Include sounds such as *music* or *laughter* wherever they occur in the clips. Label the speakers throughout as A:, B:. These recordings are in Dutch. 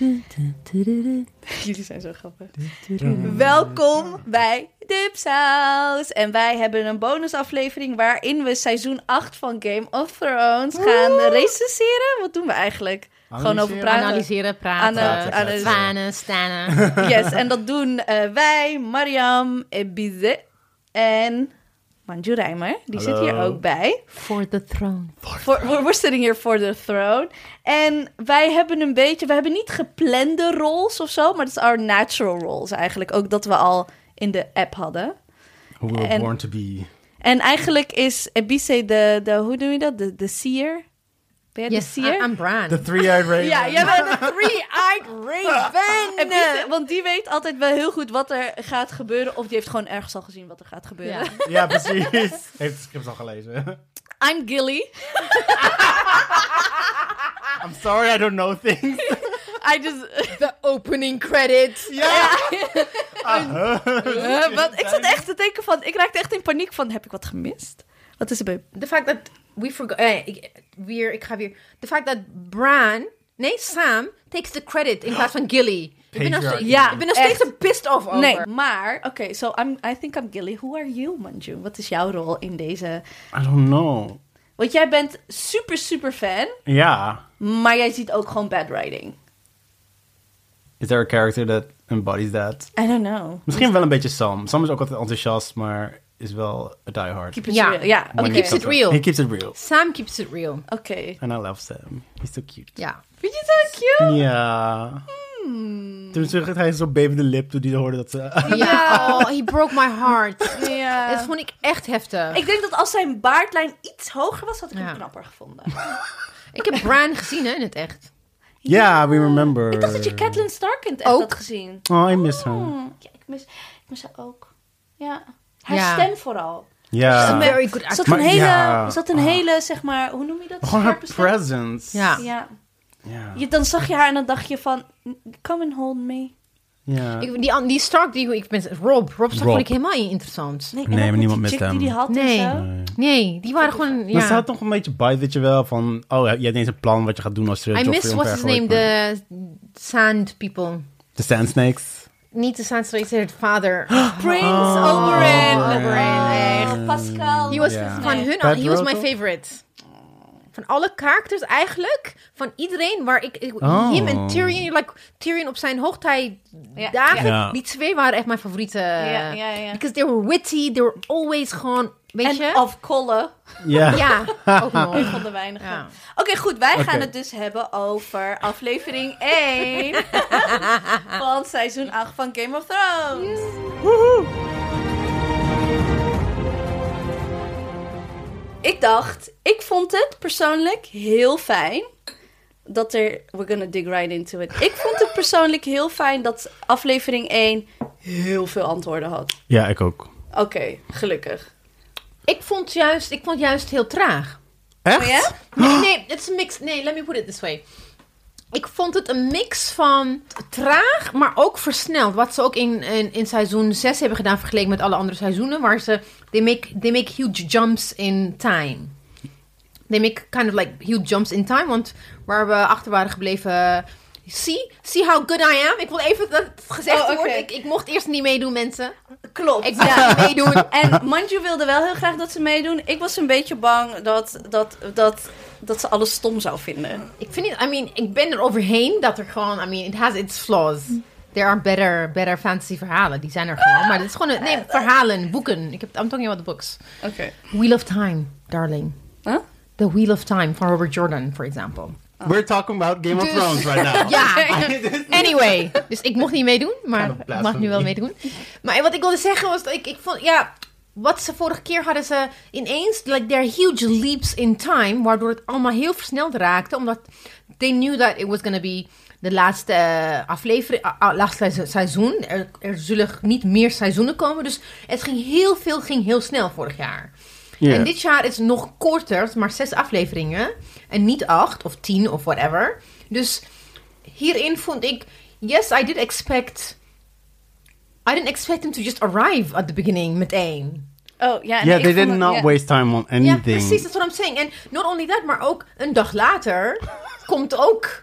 A: *laughs* Jullie zijn zo grappig. Welkom bij Dipsaus. En wij hebben een bonusaflevering waarin we seizoen 8 van Game of Thrones gaan recenseren. Wat doen we eigenlijk? Gewoon over praten.
B: Analyseren, praten,
A: Ana-
B: Ana,
A: analyseren.
B: zwanen,
A: *laughs*
B: stanen.
A: Yes, en dat doen eh, wij, Mariam, Ebize en Manju Rijmer. Die
C: Hallo.
A: zit hier ook bij.
B: For the throne.
A: For, we're, we're sitting here for the throne. En wij hebben een beetje, we hebben niet geplande roles of zo, maar dat is our natural roles eigenlijk. Ook dat we al in de app hadden.
C: Who we were
A: En-
C: born to be.
A: En eigenlijk is Ebise de, de hoe noem je dat? De, de seer? Ben jij
B: Yes,
A: de
B: I-
A: seer?
B: I'm Bran.
C: The
B: *laughs*
C: three-eyed raven.
A: ja, jij bent de
B: three-eyed
A: Ebise,
B: raven.
A: want die weet altijd wel heel goed wat er gaat gebeuren. Of die heeft gewoon ergens al gezien wat er gaat gebeuren.
B: Ja.
C: Ja, precies. Heeft
B: *laughs*
C: het script al gelezen.
A: I'm Gilly.
C: *laughs* I'm sorry, I don't know
B: *laughs*
C: things.
A: I just...
B: The opening credits.
C: Ja! Ah, huh.
A: Eh, wat, ik zat echt te denken van... Ik raakte echt in paniek van... Heb ik wat gemist? Wat is er bij...
B: De fact dat we forgot... eh, ik, weer, ik ga weer... De fact dat Bran... Nee, Sam takes the credit in plaats van Gilly. Ik ben nog steeds,
C: Patriarchy. Ja,
B: ik ben nog steeds
A: echt.
B: een pissed off over.
A: Nee, maar... Oké, so I'm, I think I'm Gilly. Who are you, Manju? Wat is jouw rol in deze...
C: I don't know.
A: Want jij bent super, super fan.
C: Ja.
A: Maar jij ziet ook gewoon bad writing.
C: Is there a character that embodies that?
A: I don't know.
C: Misschien wel een beetje Sam. Sam is ook altijd enthousiast, maar is wel a diehard.
A: Keep it
B: Ja.
A: real. Ja,
C: When
A: oké.
C: it
B: oh, keeps
C: comes
B: it
C: to-
B: real.
C: He keeps it real.
B: Sam keeps it real.
A: Oké.
C: And I love Sam. He's so cute.
B: Ja.
A: Vind je het zo cute?
C: Ja.
B: Hmm.
C: Toen zag hij zo'n bevende lip toen hij hoorde dat ze... *laughs*
B: Ja, oh, he broke my heart.
A: Ja.
B: Dat vond ik echt heftig.
A: Ik denk dat als zijn baardlijn iets hoger was, had ik
B: Ja.
A: hem knapper gevonden.
B: Ik heb Bran gezien, hè, in het echt.
C: Ja, we remember.
A: Ik dacht dat je Catelyn Stark in het echt
B: Ook.
A: had gezien.
C: Oh, I miss her.
A: Hmm, ja, ik, mis, ik mis haar ook. Ja. Haar
B: Ja.
A: stem vooral.
C: Ja.
A: Ze-
B: Very good
A: Er
B: actor.
A: zat een
C: Maar
A: hele,
C: ja. Ah.
A: er zat een hele, zeg maar, hoe noem je dat?
C: Gewoon haar
A: Scherpe stem?
C: presence.
B: Ja.
A: Ja.
C: Ja.
A: Je, dan zag je haar en dan dacht je van, come and hold me.
C: Ja.
B: Ik, die, an- die Stark, die ik ben, Rob. Rob Stark
C: Rob.
B: vond ik helemaal niet interessant.
A: Nee, en
C: maar
A: ook met
C: niemand
A: die
C: mist
A: chick
C: hem.
A: die die had
B: Nee.
A: en zo.
B: Nee, die waren gewoon.
C: Maar ze
B: Ja.
C: had toch een beetje bij, weet je wel, van... Oh, je hebt niet eens een plan wat je gaat doen als je
B: I miss what's his name,
C: de...
B: the Sand People.
C: De Sand Snakes.
B: Niet de Sand Snakes, het
C: *gasps*
B: vader.
A: Prince
C: Oh.
A: Oberyn.
B: Oberyn,
A: Oh, Pascal.
B: He was
C: Ja.
B: van hun,
C: Bad
B: he was my
C: Roto?
B: favorite. Van alle characters eigenlijk, van iedereen waar ik, ik
C: Oh.
B: him en Tyrion, like Tyrion op zijn hoogtijd
A: Ja.
B: dagen,
C: Ja.
B: die twee waren echt mijn favorieten.
A: Ja, ja, ja.
B: Because they were witty, they were always gewoon, weet je?
A: En of Colin.
C: Ja.
B: Ja, ook
A: *laughs* Een
B: nog.
A: van de weinigen.
B: Ja.
A: Oké, goed. Wij
C: Oké.
A: gaan het dus hebben over aflevering 1 van seizoen 8 van Game of Thrones. Ik dacht, ik vond het persoonlijk heel fijn dat er... We're gonna dig right into it. Ik vond het persoonlijk heel fijn dat aflevering 1 heel veel antwoorden had.
C: Ja, ik ook.
A: Oké, gelukkig.
B: Ik vond juist, ik vond juist heel traag.
C: Echt?
A: Oh ja?
B: Nee, nee, het is een mix. Nee, let me put it this way. Ik vond het een mix van traag, maar ook versneld. Wat ze ook in, in, in seizoen 6 hebben gedaan vergeleken met alle andere seizoenen. Waar ze, they make, they make huge jumps in time. They make kind of like huge jumps in time. Want waar we achter waren gebleven... See? See how good I am? Ik wil even dat het gezegd
A: Oh, oké.
B: wordt. Ik, ik mocht eerst niet meedoen, mensen.
A: Klopt. *laughs*
B: Ik mocht niet meedoen.
A: En Manju wilde wel heel graag dat ze meedoen. Ik was een beetje bang dat, dat, dat, dat ze alles stom zou vinden.
B: Ik vind het, I mean, ik ben er overheen dat er gewoon, I mean, it has its flaws. There are better, better fantasy verhalen, die zijn er gewoon. Maar dit is gewoon, een, nee, verhalen, boeken. Ik heb, I'm talking about the books.
A: Oké.
B: Wheel of Time, darling.
A: Huh?
B: The Wheel of Time van Robert Jordan, for example.
C: Oh. We're talking about Game of
B: Dus-
C: Thrones right now.
B: *laughs* Ja, anyway. Dus ik mocht niet meedoen, maar
C: Kind of
B: ik mag nu wel
C: blasphemy.
B: meedoen. Maar wat ik wilde zeggen was dat ik, ik vond, ja, wat ze vorige keer hadden ze ineens, like their huge leaps in time, waardoor het allemaal heel versneld raakte, omdat they knew that it was gonna be de laatste eh, aflevering, ah, ah, laatste se- seizoen. Er, er zullen niet meer seizoenen komen, dus het ging heel veel, ging heel snel vorig jaar.
D: Ja.
B: En dit jaar is het nog korter, maar zes afleveringen. En niet acht of tien of whatever. Dus hierin vond ik... Yes, I did expect... I didn't expect him to just arrive at the beginning meteen.
A: Oh, ja. nee,
D: Yeah,
A: ik vond
D: they did
A: het-
D: not
A: ja.
D: waste time on
B: Ja,
D: anything.
B: precies, that's what I'm saying. En not only that, maar ook een dag later *laughs* komt ook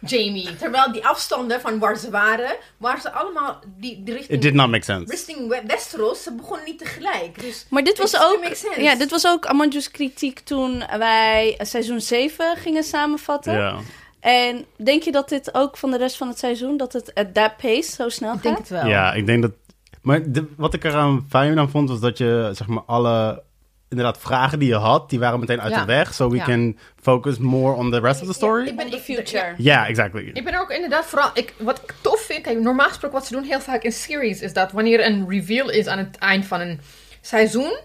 B: Jamie. Terwijl die afstanden van waar ze waren, waar ze allemaal die, die
D: It
B: richting,
D: did not make sense.
B: richting We- Westeros, ze begonnen niet tegelijk. Dus
A: Maar dit was
B: it still
A: ook,
B: makes sense.
A: ja, dit was ook Amandju's kritiek toen wij seizoen 7 gingen samenvatten.
D: Ja.
A: En denk je dat dit ook van de rest van het seizoen, dat het at that pace zo snel
B: Ik denk
A: gaat?
B: het wel.
D: Ja, ik denk dat. Maar de- wat ik eraan fijn aan vond, was dat je zeg maar alle inderdaad vragen die je had, die waren meteen uit
B: Ja.
D: de weg. So we
B: Ja.
D: can focus more on the rest of the story. Ja,
B: ik ben-
A: On the future.
D: exactly.
B: Ik ben er ook inderdaad vooral... Ik, wat ik tof vind... Kijk, normaal gesproken wat ze doen heel vaak in series... is dat wanneer een reveal is aan het eind van een seizoen...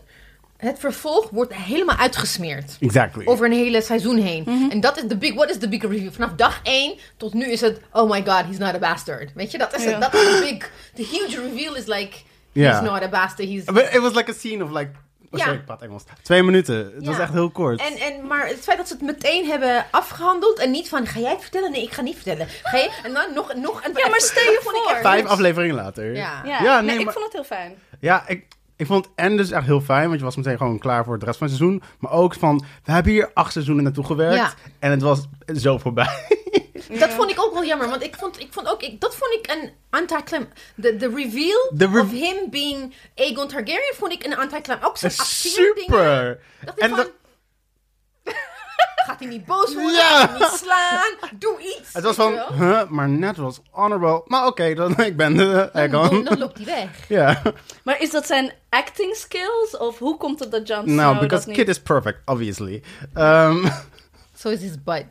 B: het vervolg wordt helemaal uitgesmeerd.
D: Exactly.
B: Over een hele seizoen heen.
D: Mhm.
B: En dat is de big... What is the big reveal? Vanaf dag 1 tot nu is het... Oh my god, he's not a bastard. Weet je, dat is
A: Ja.
B: het. Dat is de big... The huge reveal is like...
D: Ja.
B: He's not a bastard. He's...
D: But it was like a scene of like. Oh,
B: Ja.
D: Sorry, ik praat Engels. Twee minuten. Het was
B: Ja.
D: echt heel kort.
B: En, eh, en, maar het feit dat ze het meteen hebben afgehandeld en niet van, ga jij het vertellen? Nee, ik ga niet vertellen. Ga je? En dan nog, nog een...
A: Ja, maar stel je
B: Vond ik
A: voor.
B: echt-
D: Vijf afleveringen later.
B: Ja.
A: Ja,
D: Ja,
A: nee,
D: nee,
A: ik
D: maar-
A: vond het heel fijn.
D: Ja, ik, ik vond het en dus echt heel fijn, want je was meteen gewoon klaar voor het rest van het seizoen. Maar ook van, we hebben hier acht seizoenen naartoe gewerkt
B: Ja.
D: en het was zo voorbij.
B: *laughs* Dat vond ik ook wel jammer, want ik vond, ik vond ook, ik, dat vond ik een anticlim. De, de reveal
D: De re-
B: of him being Aegon Targaryen vond ik een anticlim. Ook zo'n
D: *laughs*
B: acteerding.
D: Super!
B: Dacht ik
D: En
B: van,
D: dat-
B: *laughs* gaat hij niet boos worden?
D: Ja.
B: Gaat hij niet slaan? Doe iets.
D: het was
B: weet
D: van,
B: je wel.
D: huh, maar net was honorable. Maar oké, dan *laughs* ik ben de
B: Dan,
D: Egon.
B: dan loopt hij weg.
D: *laughs* Ja,
A: Maar is dat zijn acting skills? Of hoe komt het dat Jon Snow
D: nou,
A: dat
D: because
A: niet...
D: kid is perfect, obviously. Ehm,
B: Zo is his butt.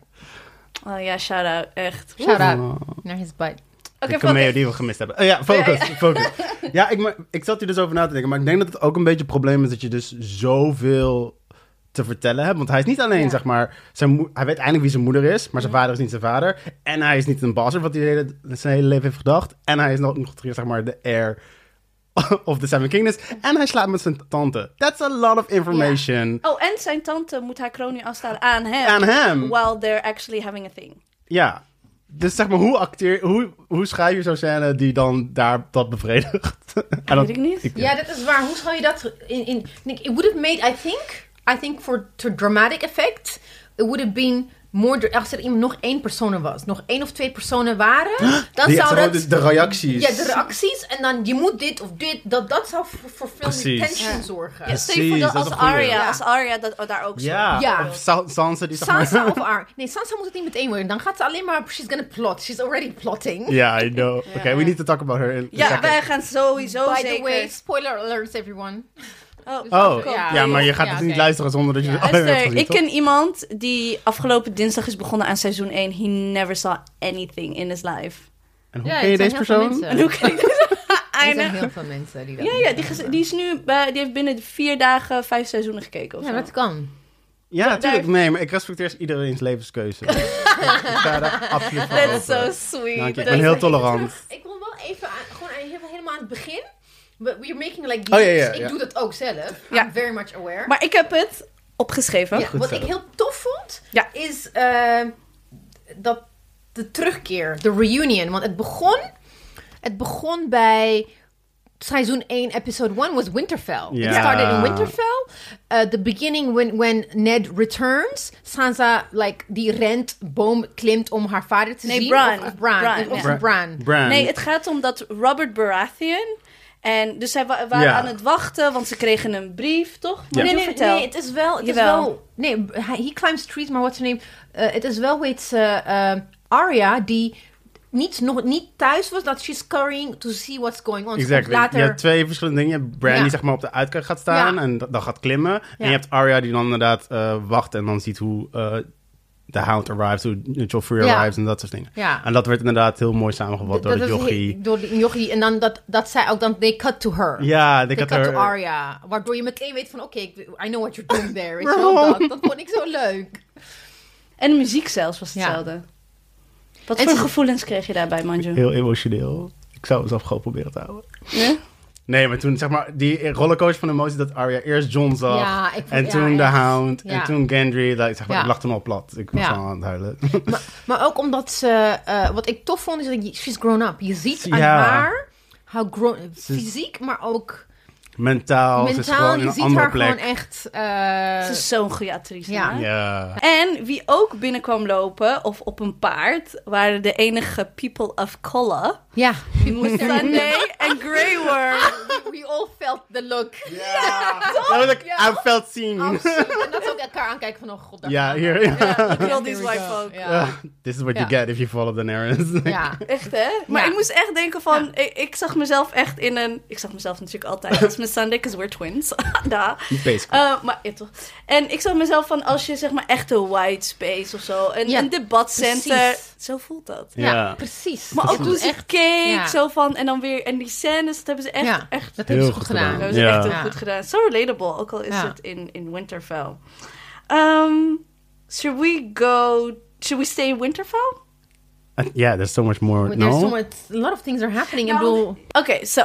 A: Oh ja, shout-out, echt. Oeh.
B: Shout out naar his butt.
A: Oké,
D: de
A: fuck
D: cameo
A: it.
D: die we gemist hebben. Eh, ja, focus,
A: *laughs*
D: focus. Ja, ik, maar- ik zat hier dus over na te denken. Maar ik denk dat het ook een beetje het probleem is dat je dus zoveel te vertellen hebt. Want hij is niet alleen,
B: Ja.
D: zeg maar... Zijn moe- hij weet eindelijk wie zijn moeder is, maar zijn vader is niet zijn vader. En hij is niet een bastard, wat hij de hele- zijn hele leven heeft gedacht. En hij is nog, nog zeg maar, de heir *laughs* of the Seven Kingdoms. En hij slaapt met zijn tante. That's a lot of information
A: Oh, en zijn tante moet haar kroon nu afstaan aan hem.
D: aan hem.
A: While they're actually having a thing.
D: Ja. Dus zeg maar, hoe, acteer, hoe, hoe schrijf je zo'n scène die dan daar dat bevredigt? *laughs* En dat-
A: Weet ik niet.
B: Ja, dat is waar. Hoe zou je dat in... in Nick, it would have made, I think... I think for to dramatic effect... It would have been more... dra- Als er iemand nog één persoon was. Nog één of twee personen waren... Dan
D: Die-
B: zou
D: gewoon
B: dat...
D: de, de reacties.
B: ja, de reacties. En dan je moet dit of dit. Dat, dat zou voor, voor veel
D: Precies.
B: tension zorgen.
A: Ja, stel je voor dat
D: Precies, dat
A: als
D: is een goeie.
A: Arya,
B: Ja.
A: als Arya dat, oh, daar ook zo.
D: Ja,
B: Ja.
D: of Sa- Sansa die zeg maar...
B: Sansa of Ar... Nee, Sansa moet het niet meteen worden. Dan gaat ze alleen maar... She's gonna plot. She's already plotting.
D: *laughs* Ja, I know. Oké, we need to talk about her. in a
A: Ja,
D: second.
A: wij gaan sowieso
B: By
A: zeker.
B: the way, dus spoiler alerts everyone.
A: Oh,
D: Oh, ja,
B: Ja,
D: maar je *laughs*
B: ja,
D: gaat het
B: oké.
D: niet luisteren zonder dat je *laughs*
B: Ja.
D: het alleen hebt
A: Luister,
D: gezien,
A: ik
D: toch?
A: ken iemand die afgelopen dinsdag is begonnen aan seizoen 1. He never saw anything in his life.
D: En hoe
B: Ja,
D: ken je
B: het
D: deze
B: zijn heel veel
D: persoon?
B: mensen.
A: En hoe kan ik
B: Er zijn
A: Eine-
B: heel veel mensen die dat
A: Ja,
B: niet
A: ja die, gez- die is nu bij, die heeft binnen vier dagen vijf seizoenen gekeken. Of
B: doen. Ja,
A: zo.
B: dat kan.
D: Ja, natuurlijk.
A: daar-
D: Nee, maar ik respecteer iedereen's
B: *laughs*
D: levenskeuze. ik sta daar absoluut voor
A: That's so
D: open.
A: sweet.
D: Dank je, ik
A: Dat
D: ben
A: is-
D: heel
B: Even
D: tolerant.
B: terug. Ik wil wel even aan, gewoon aan- helemaal, helemaal aan het begin. We- We're making like
D: Oh, ja, ja,
B: leaps.
D: ja.
B: Ik doe dat ook zelf.
A: Ja.
B: I'm very much aware.
A: Maar ik heb het opgeschreven.
B: Ja,
D: Goed
B: wat
D: zo.
B: ik heel tof vond,
A: Ja.
B: is eh, dat de terugkeer, de reunion. Want het begon, het begon bij seizoen 1, episode 1 was Winterfell. It
D: Ja.
B: started in Winterfell. Uh, the beginning when, when Ned returns. Sansa, like, die rent, boom klimt om haar vader te
A: Nee,
B: zien.
A: Bran.
B: Of, of Bran.
A: Bran,
B: Of
A: ja.
B: Bran.
D: Brand.
A: Nee, het gaat om dat Robert Baratheon. En dus zij wa- waren
D: Ja.
A: aan het wachten, want ze kregen een brief, toch?
D: Ja.
B: Nee,
A: Nee,
B: nee,
A: vertel.
B: nee, het is wel... Het
A: Jawel.
B: is wel nee, hij- he climbs trees, maar what's her name? Eh, het is wel, weet ze, eh, Arya, die niet, nog niet thuis was, dat she's scurrying to see what's going on. Ze komt
D: Exactly.
B: Later,
D: Je hebt twee verschillende dingen. Je hebt Brand
B: Ja.
D: die zeg maar op de uitkijk gaat staan
B: Ja.
D: en d- dan gaat klimmen. En
B: Ja.
D: je hebt Arya die dan inderdaad eh, wacht en dan ziet hoe eh The Hound arrives, hoe Joffrey
B: Ja.
D: arrives en dat soort dingen.
B: Ja.
D: En dat werd inderdaad heel mooi samengevat door
B: Dat
D: de
B: was
D: jochie.
B: he- Door de jochie. En dan dat, dat zij ook dan, they cut to her.
D: Ja, ik
B: They
D: had
B: cut to
D: er...
B: Arya. Waardoor je meteen weet van, oké, ik- I know what you're doing there. Weet je
D: *laughs*
B: wel, dat, dat vond ik zo leuk.
A: En de muziek zelfs was
B: Ja.
A: hetzelfde. Wat
B: En
A: voor
B: ze-
A: gevoelens kreeg je daarbij, Manju?
D: Heel emotioneel. Ik zou mezelf gewoon proberen te houden.
A: Ja?
D: Nee, maar toen zeg maar die rollercoaster van emotie dat Arya eerst Jon zag.
B: Ja, ik vond-
D: en
B: ja,
D: toen The
B: echt.
D: Hound.
B: Ja.
D: En toen Gendry. Dat, ik zeg maar,
B: Ja.
D: ik lag toen al plat. Ik was
B: Ja.
D: al aan het huilen. *laughs*
B: Maar, maar ook omdat ze... eh, wat ik tof vond, is dat je- she's grown up. Je ziet aan
D: Ja.
B: haar how grown... Fysiek, maar ook
D: Mentaal. ze is
B: mentaal.
D: gewoon in
B: Je
D: een
B: ziet haar
D: andere
B: gewoon
D: plek.
B: echt... eh,
A: Ze is zo'n goede actrice.
B: Ja.
A: hè?
D: Ja.
A: En wie ook binnenkwam lopen, of op een paard, waren de enige people of color.
B: *laughs* ja. We moesten
A: Sunday en Grey Worm.
B: We all felt the look.
D: Dat was ik
B: Ja.
D: I felt seen.
B: Absoluut. En dat ze ook elkaar aankijken van, oh god, daar
D: ja,
B: gaan we.
D: hier. Ja.
A: Look at all these
B: Here we
A: white
B: go.
A: folk.
B: Ja.
D: This is what you
B: Ja.
D: get if you follow the narratives.
B: Ja.
A: Echt, hè? Maar
B: Ja.
A: ik moest echt denken van... Ik, ik zag mezelf echt in een... Ik zag mezelf natuurlijk altijd als mijn Sunday, because we're twins. *laughs* da.
D: Basically.
A: Eh, maar ja, toch. En ik zag mezelf van als je zeg maar echt een white space of zo... Een,
B: Ja,
A: een debatcenter...
B: precies.
A: Zo voelt dat.
B: Ja,
D: Ja.
B: precies.
A: Maar
B: Dat
A: ook
B: is
A: toen ze
B: echt,
A: keek,
B: ja.
A: zo van... En dan weer... En die scènes, dat hebben ze echt...
B: ja,
A: echt
B: dat
D: Heel
B: hebben ze goed
D: goed
B: gedaan.
D: gedaan.
A: dat
D: Ja.
A: is echt heel
B: Ja.
A: goed gedaan. So relatable, ook al is
B: Ja.
A: het in, in Winterfell. Ehm, should we go... Should we stay in Winterfell?
D: Uh, yeah, there's so much more.
B: Maar
D: no?
B: There's so much, a lot of things are happening. Ik
A: Nou,
B: bedoel,
A: Oké, zo.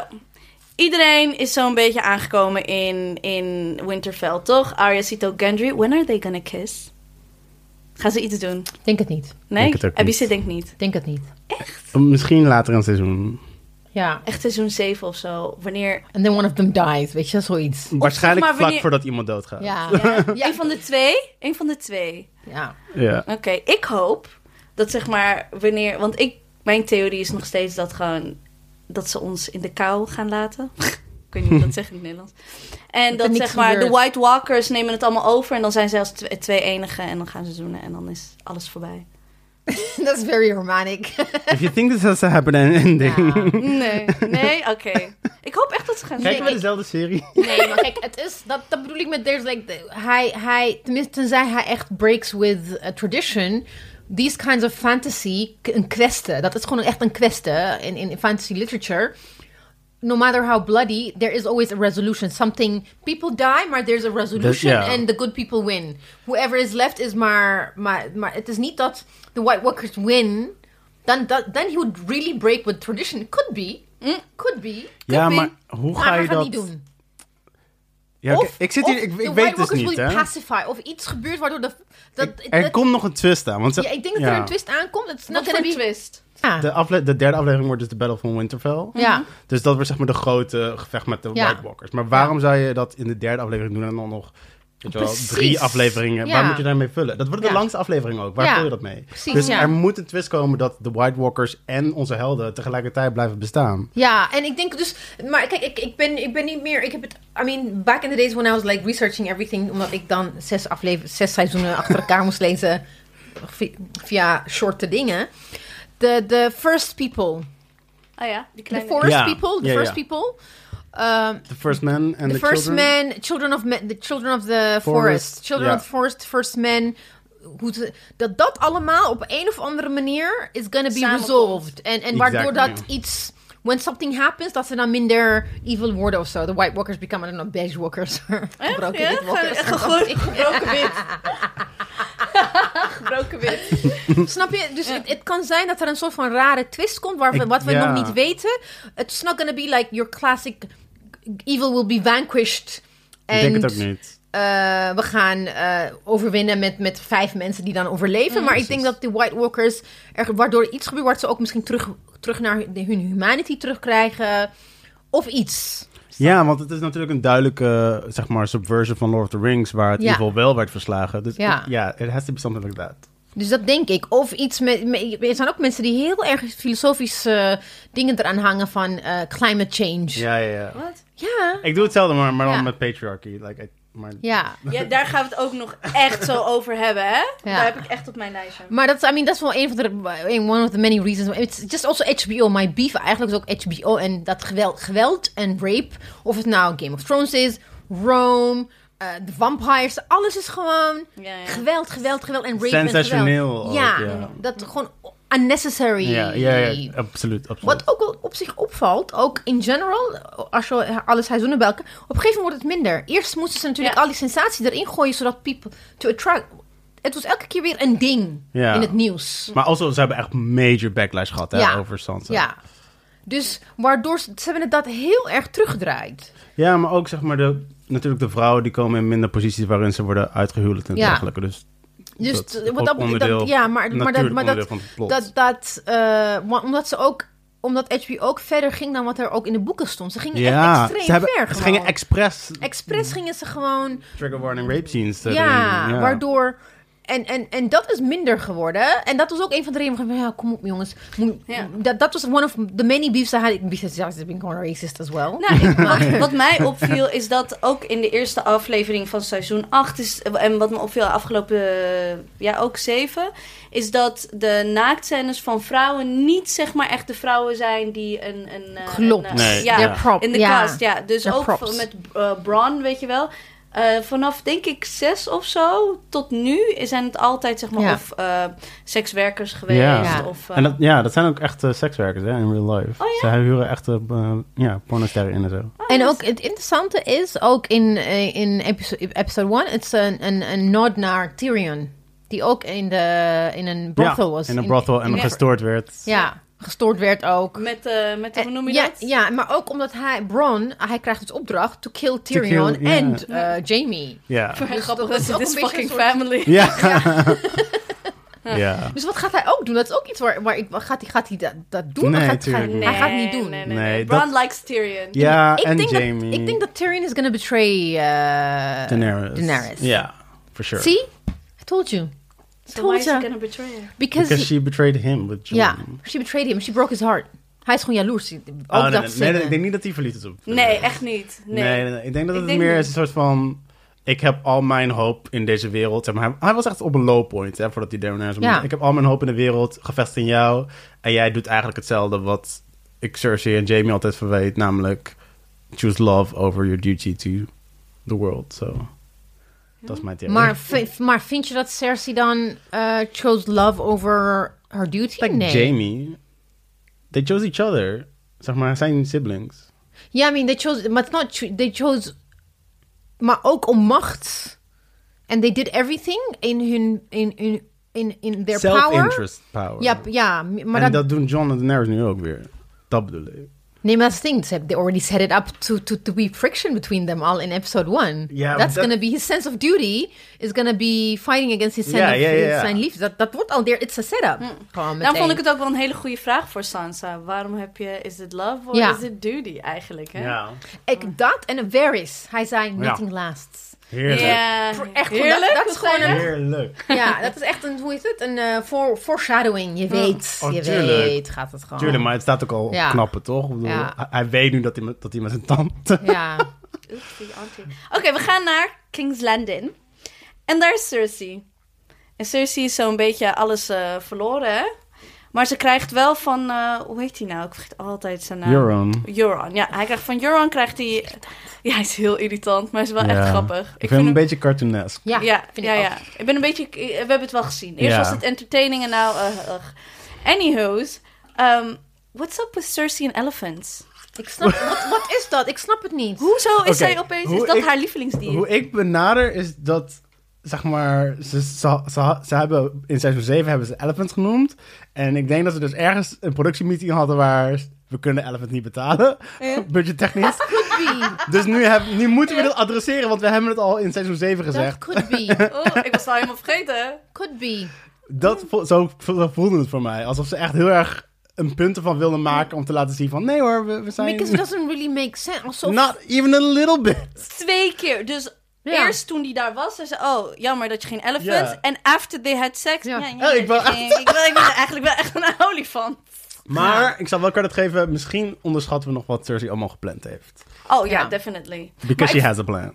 A: Iedereen is zo'n beetje aangekomen in, in Winterfell, toch? Arya ziet ook Gendry. When are they gonna kiss? Gaan ze iets doen?
B: ik denk het niet.
A: Nee?
D: Denk het ook niet.
A: Abby's denkt niet.
B: Ik denk het niet.
D: Misschien later in het seizoen.
B: Ja.
A: Echt seizoen 7 of zo.
B: *laughs*
A: Wanneer...
B: And then one of them dies, weet je, zoiets.
D: Waarschijnlijk
A: maar
D: vlak
A: wanneer-
D: voordat iemand doodgaat.
B: Ja.
A: Ja,
B: Ja.
A: Een van de twee? Een van de twee.
B: ja.
D: *laughs*
B: *laughs*
D: Ja.
A: Oké, ik hoop dat zeg maar wanneer... Want ik, mijn theorie is nog steeds dat gewoon... Dat ze ons in de kou gaan laten. *laughs* ik weet niet hoe dat zeggen in het Nederlands. En
B: er
A: dat
B: niks
A: zeg maar de
B: gebeurt.
A: White Walkers nemen het allemaal over. En dan zijn ze als tw- twee enigen. En dan gaan ze zoenen. En dan is alles voorbij.
B: That's very romantic.
D: If you think this has to happen, then ending.
B: Ja.
A: Nee, *laughs* nee, oké. Ik hoop echt dat ze gaan
D: Kijken
A: zoenen.
D: we dezelfde serie?
B: Nee, maar kijk, het is, dat, dat bedoel ik met, there's like, the- hij, hij, tenminste, tenzij hij echt breaks with a tradition, these kinds of fantasy, k- een kweste, dat is gewoon echt een kweste in, in fantasy literature. No matter how bloody, there is always a resolution. Something, people die, maar there's a resolution
D: ja.
B: and the good people win. Whoever is left is maar, maar, maar het is niet dat the White Walkers win, dan, dat, then he would really break with tradition. Could be, could be.
D: Mm. Ja,
A: be.
D: maar hoe
B: Maar
D: ga
B: hij
D: je
B: gaat
D: dat...
B: niet doen.
D: Ja, oké,
B: Of-
D: ik zit hier,
B: of
D: ik,
B: de
D: ik
B: White
D: weet dus
B: Walkers
D: niet,
B: will be
D: hè.
B: pacify. Of iets gebeurt waardoor de... Dat,
D: Er
B: dat-
D: komt nog een twist aan. Want ze-
B: ja, ik denk dat
D: ja.
B: er een twist aankomt. Het is not
A: Wat
B: gonna
A: voor
B: be...
A: twist?
B: Ja.
D: De, afle- de derde aflevering wordt dus de Battle van Winterfell.
B: Ja. Mhm.
D: Dus dat wordt zeg maar de grote gevecht met de
B: Ja.
D: White Walkers. Maar waarom zou je dat in de derde aflevering doen en dan nog weet je wel,
B: Precies.
D: drie afleveringen?
B: Ja.
D: Waar moet je daarmee vullen? Dat wordt de
B: Ja.
D: langste aflevering ook. Waar
B: Ja.
D: vul je dat mee?
B: Precies,
D: dus
B: ja.
D: er moet een twist komen dat de White Walkers en onze helden tegelijkertijd blijven bestaan.
B: Ja, en ik denk dus... Maar kijk, ik, ik, ben, ik ben niet meer... Ik heb het... I mean, back in the days when I was like researching everything... Omdat ik dan zes, aflever, zes seizoenen
D: *laughs*
B: achter elkaar moest lezen... vi- Via shorte dingen. The, the first people.
A: Ah ja, die
B: The
A: kleine...
B: first
D: Ja.
B: people. The
D: Ja,
B: first
D: ja.
B: people. Um,
D: The First Men and
B: the,
D: the,
B: first
D: Children.
B: men, children of men, the children of the forest,
D: Forest,
B: children
D: ja.
B: of the forest, first men. Hoe ze- dat dat allemaal op een of andere manier is gonna be
A: Samenkomt.
B: resolved. En, en waardoor
D: Exactly,
B: dat iets. When something happens, dat ze dan minder evil worden of zo. The White Walkers become, I don't know, beige walkers. *laughs* Gebroken
A: ja?
B: wit walkers.
A: Ge- gegooid- gebroken *laughs* wit. Gebroken wit.
B: Snap je? Dus het, het kan zijn dat er een soort van rare twist komt, waar we,
D: Ik-
B: wat we
D: ja.
B: nog niet weten. It's not gonna be like your classic evil will be vanquished.
D: Ik denk het
B: and-
D: ook niet.
B: Eh, we gaan eh, overwinnen met, met vijf mensen die dan overleven. maar ik denk dat de White Walkers, er, waardoor iets gebeurt, wat ze ook misschien terug, terug naar hun hun humanity terugkrijgen. Of iets.
D: Ja, want het is natuurlijk een duidelijke, eh, zeg maar, subversion van Lord of the Rings, waar het
B: Ja.
D: evil wel werd verslagen. Dus
B: Ja.
D: ja, ja it has to be something like that.
B: Dus dat denk ik. Of iets met. met- er zijn ook mensen die heel erg filosofische eh, dingen eraan hangen van eh, climate change. Ja.
D: Ja, ja, ja.
A: Wat?
B: Ja.
D: Ik doe hetzelfde, maar, maar dan
B: Ja.
D: met patriarchy. Like, I- maar...
A: Ja, daar gaan we het ook nog echt zo over hebben, hè? Daar heb ik echt op mijn lijstje.
B: Maar dat is, I mean, dat is wel een van de, een- one of the many reasons. It's just also HBO. My beef eigenlijk is ook HBO en dat geweld, geweld en rape. Of het nou Game of Thrones is, Rome, eh, de vampires. Alles is gewoon
A: Ja, ja.
B: geweld, geweld, geweld en rape en geweld.
D: Sensationeel. ook,
B: Ja,
D: ja.
B: dat gewoon unnecessary.
D: Ja, ja, ja, absoluut. absoluut.
B: Wat ook wel op zich opvalt, ook in general, als je alle seizoenen bij elkaar... Op een gegeven moment wordt het minder. Eerst moesten ze natuurlijk
A: Ja.
B: al die sensatie erin gooien, zodat people to attract... Het was elke keer weer een ding
D: Ja.
B: in het nieuws.
D: Maar also, ze hebben echt major backlash gehad hè,
B: Ja.
D: over Sansa.
B: Ja. Dus waardoor ze, ze hebben het dat heel erg teruggedraaid.
D: Ja, maar ook zeg maar de, natuurlijk de vrouwen die komen in minder posities waarin ze worden uitgehuwelijkd en
B: Ja.
D: dergelijke. Dus,
B: Dus
D: dat
B: t-
D: is
B: wat
D: ook
B: dat betreft,
D: onderdeel-
B: dat- ja, maar, maar dat,
D: natuurlijk
B: maar
D: onderdeel
B: dat,
D: van het plot.
B: dat, dat eh, maar omdat ze ook omdat HBO ook verder ging dan wat er ook in de boeken stond. Ze gingen echt
D: ja,
B: extreem
D: ze, hebben,
B: ver.
D: ze
B: gewoon.
D: gingen expres
B: Expres gingen ze gewoon
D: trigger warning rape scenes. eh,
B: Ja,
D: erin doen,
B: waardoor. En, en, en dat is minder geworden. En dat was ook een van de redenen waarom ik dacht, ja, kom op jongens. Moet-
A: Ja.
B: dat, dat was one of the many beefs I had. Besides, I've been gewoon racist as well.
A: Nou, *laughs* ik- wat, wat mij opviel is dat ook in de eerste aflevering van seizoen 8 is, en wat me opviel afgelopen, eh, ja ook 7, is dat de naaktscènes van vrouwen niet zeg maar echt de vrouwen zijn die een. een eh,
B: Klopt.
A: een, eh,
D: Nee,
A: ja,
B: They're prop,
A: in de
B: ja.
A: cast, ja. Dus
B: Ja,
A: ook
B: props.
A: van- met eh, Bron, weet je wel. Eh, vanaf denk ik zes of zo tot nu zijn het altijd zeg maar
B: Ja.
A: of eh, sekswerkers geweest
D: Ja.
A: of. eh,
D: En dat, ja, dat zijn ook echt eh, sekswerkers hè, in real life.
A: Oh, ja?
D: Ze huren echt eh, ja, pornosterren in en zo.
B: En ook het interessante is, ook in, eh, in episode, episode 1, het is een, een, een nod naar Tyrion. Die ook in, de, in een brothel
D: ja,
B: was.
D: in een brothel en
A: in-
D: gestoord werd.
B: Ja, gestoord werd ook.
A: met, eh met hoe noem je
B: ja,
A: dat?
B: ja, maar ook omdat hij, Bron, hij krijgt het opdracht to kill Tyrion
D: kill, ja.
B: en eh,
A: *laughs*
B: Jamie.
D: Ja.
A: Vrij grappig, dat
B: Dus dat is
A: is
B: ook
A: this
B: een beetje
A: fucking family.
B: een soort-
D: Ja.
A: *laughs*
D: ja.
B: Dus wat gaat hij ook doen? Dat is ook iets waar, waar ik... Gaat hij, gaat hij dat, dat doen?
D: Nee,
B: of gaat hij,
D: tuurlijk
B: hij gaat het niet doen.
A: Nee,
D: Nee,
A: Bron
D: dat-
A: likes Tyrion.
D: Ja,
B: Dus Ik,
D: en
B: denk
D: Jamie.
B: Dat, ik denk dat Tyrion is gonna betray eh
D: Daenerys.
B: Daenerys.
D: Ja, for sure.
B: See? I told you. I
A: So why
B: told
A: is he
B: you.
A: gonna betray her?
B: Because,
D: Because she betrayed him with Jon.
B: ja, she betrayed him. She broke his heart. Hij is gewoon jaloers. Ook
D: Oh, nee,
B: dat
D: nee, nee,
B: zingen.
D: ik denk niet dat hij verliefd is op
A: Nee,
D: Daenerys.
A: echt niet. Nee.
D: Nee. nee, nee. ik denk dat
A: Ik
D: het
A: denk
D: meer
A: niet.
D: is een soort van... Ik heb al mijn hoop in deze wereld. zeg maar, hij, hij was echt op een low point, hè, voordat hij Daenerys
B: Ja.
D: Ik heb al mijn hoop in de wereld gevestigd in jou. En jij doet eigenlijk hetzelfde wat ik Cersei en Jamie altijd verweet. Namelijk, choose love over your duty to the world. So, dat is mijn theorie.
B: Maar, v- maar vind je dat Cersei dan eh, chose love over her duty?
D: Like
B: nee.
D: Jamie, they chose each other. Zeg maar, zijn siblings.
B: Ja, I mean, they chose... Maar it's not... cho- They chose... Maar ook om macht. And they did everything in hun... In, in, in, in their power.
D: Self-interest power.
B: Ja, p- ja, m- maar
D: en
B: dat,
D: dat doen John en Daenerys nu ook weer. Dat bedoel ik.
B: Nee, maar dat is het ding. Ze hebben- They already set it up to, to, to be friction between them all in episode 1.
D: Ja, maar
B: That's
D: dat-
B: gonna be... His sense of duty is gonna be fighting against his sense
D: Ja,
B: of
D: ja, ja, ja.
B: zijn liefde. Dat, dat wordt al... there. It's a setup. Gewoon
A: Daarom vond
B: meteen.
A: ik het ook wel een hele goede vraag voor Sansa. Waarom heb je, is it love or
B: Ja.
A: is it duty eigenlijk? Hè?
B: Ik, dat en Varys. Hij zei,
D: Ja.
B: nothing lasts.
D: Heerlijk.
A: Ja.
B: Voor- echt goed,
A: Heerlijk,
B: dat- dat is
A: wat
B: gewoon
A: zei je?
D: Heerlijk.
B: Ja, dat is echt een, hoe heet het? Een eh, voor, foreshadowing. Je weet,
D: Oh,
B: je
D: tuurlijk.
B: weet gaat het gewoon.
D: Tuurlijk, maar het staat ook al op
B: Ja.
D: knappen, toch? Ik bedoel,
B: Ja.
D: hij- Hij weet nu dat hij met, dat hij met zijn tand...
B: Ja,
A: Oeps, die auntie. Oké, we gaan naar King's Landing. En daar is Cersei. En Cersei is zo'n beetje alles eh, verloren, hè? Maar ze krijgt wel van, eh, hoe heet hij nou? Ik vergeet altijd zijn naam.
D: Euron.
A: Euron, ja. Hij krijgt van Euron krijgt hij... Ja, hij is heel irritant, maar hij is wel
D: *laughs* Ja.
A: echt grappig.
D: Ik vind hem een beetje cartoonesk.
B: ja,
A: ja,
B: vind
A: ja,
B: ik ook.
A: ja. Ik ben een beetje... We hebben het wel gezien. Eerst
D: Ja.
A: was het entertaining en nou... eh ugh. Anywho's. ehm, what's up with Cersei and elephants?
B: Ik snap, wat, wat is dat? Ik snap het niet.
A: Hoezo is
D: Oké,
A: zij opeens... Is
D: hoe
A: dat
D: ik-
A: haar lievelingsdier?
D: Hoe ik benader is dat, zeg maar, ze, ze, ze, ze hebben in seizoen 7 hebben ze Elephant genoemd. En ik denk dat ze dus ergens een productiemeeting hadden waar s- we kunnen Elephant niet betalen, *laughs* budgettechnisch.
B: Could
D: *laughs*
B: be.
D: dus nu, heb, nu moeten we dat adresseren, want we hebben het al in seizoen 7
B: Dat
D: gezegd.
B: could be.
A: Oh, ik was het al helemaal vergeten.
B: Could be.
D: Dat, vo- zo vo- zo voelde het voor mij, alsof ze echt heel erg een punt ervan wilden maken om te laten zien van, nee hoor, we, we zijn...
B: Because it doesn't really make sense. Also,
D: Not even a little bit.
A: Twee keer. Dus
B: Ja.
A: eerst toen die daar was, zei ze... Oh, jammer dat je geen elephant...
D: Ja.
A: En after they had sex...
B: Ja.
A: Ja, ja,
D: Oh, ik wil
A: ja, ja, ik wil- ik wil eigenlijk wel echt een *laughs* olifant.
D: Maar ik zal wel credit geven, misschien onderschatten we nog wat Cersei allemaal gepland heeft.
A: Oh ja,
B: Ja.
A: definitely.
D: Because
A: Maar
D: she has a plan.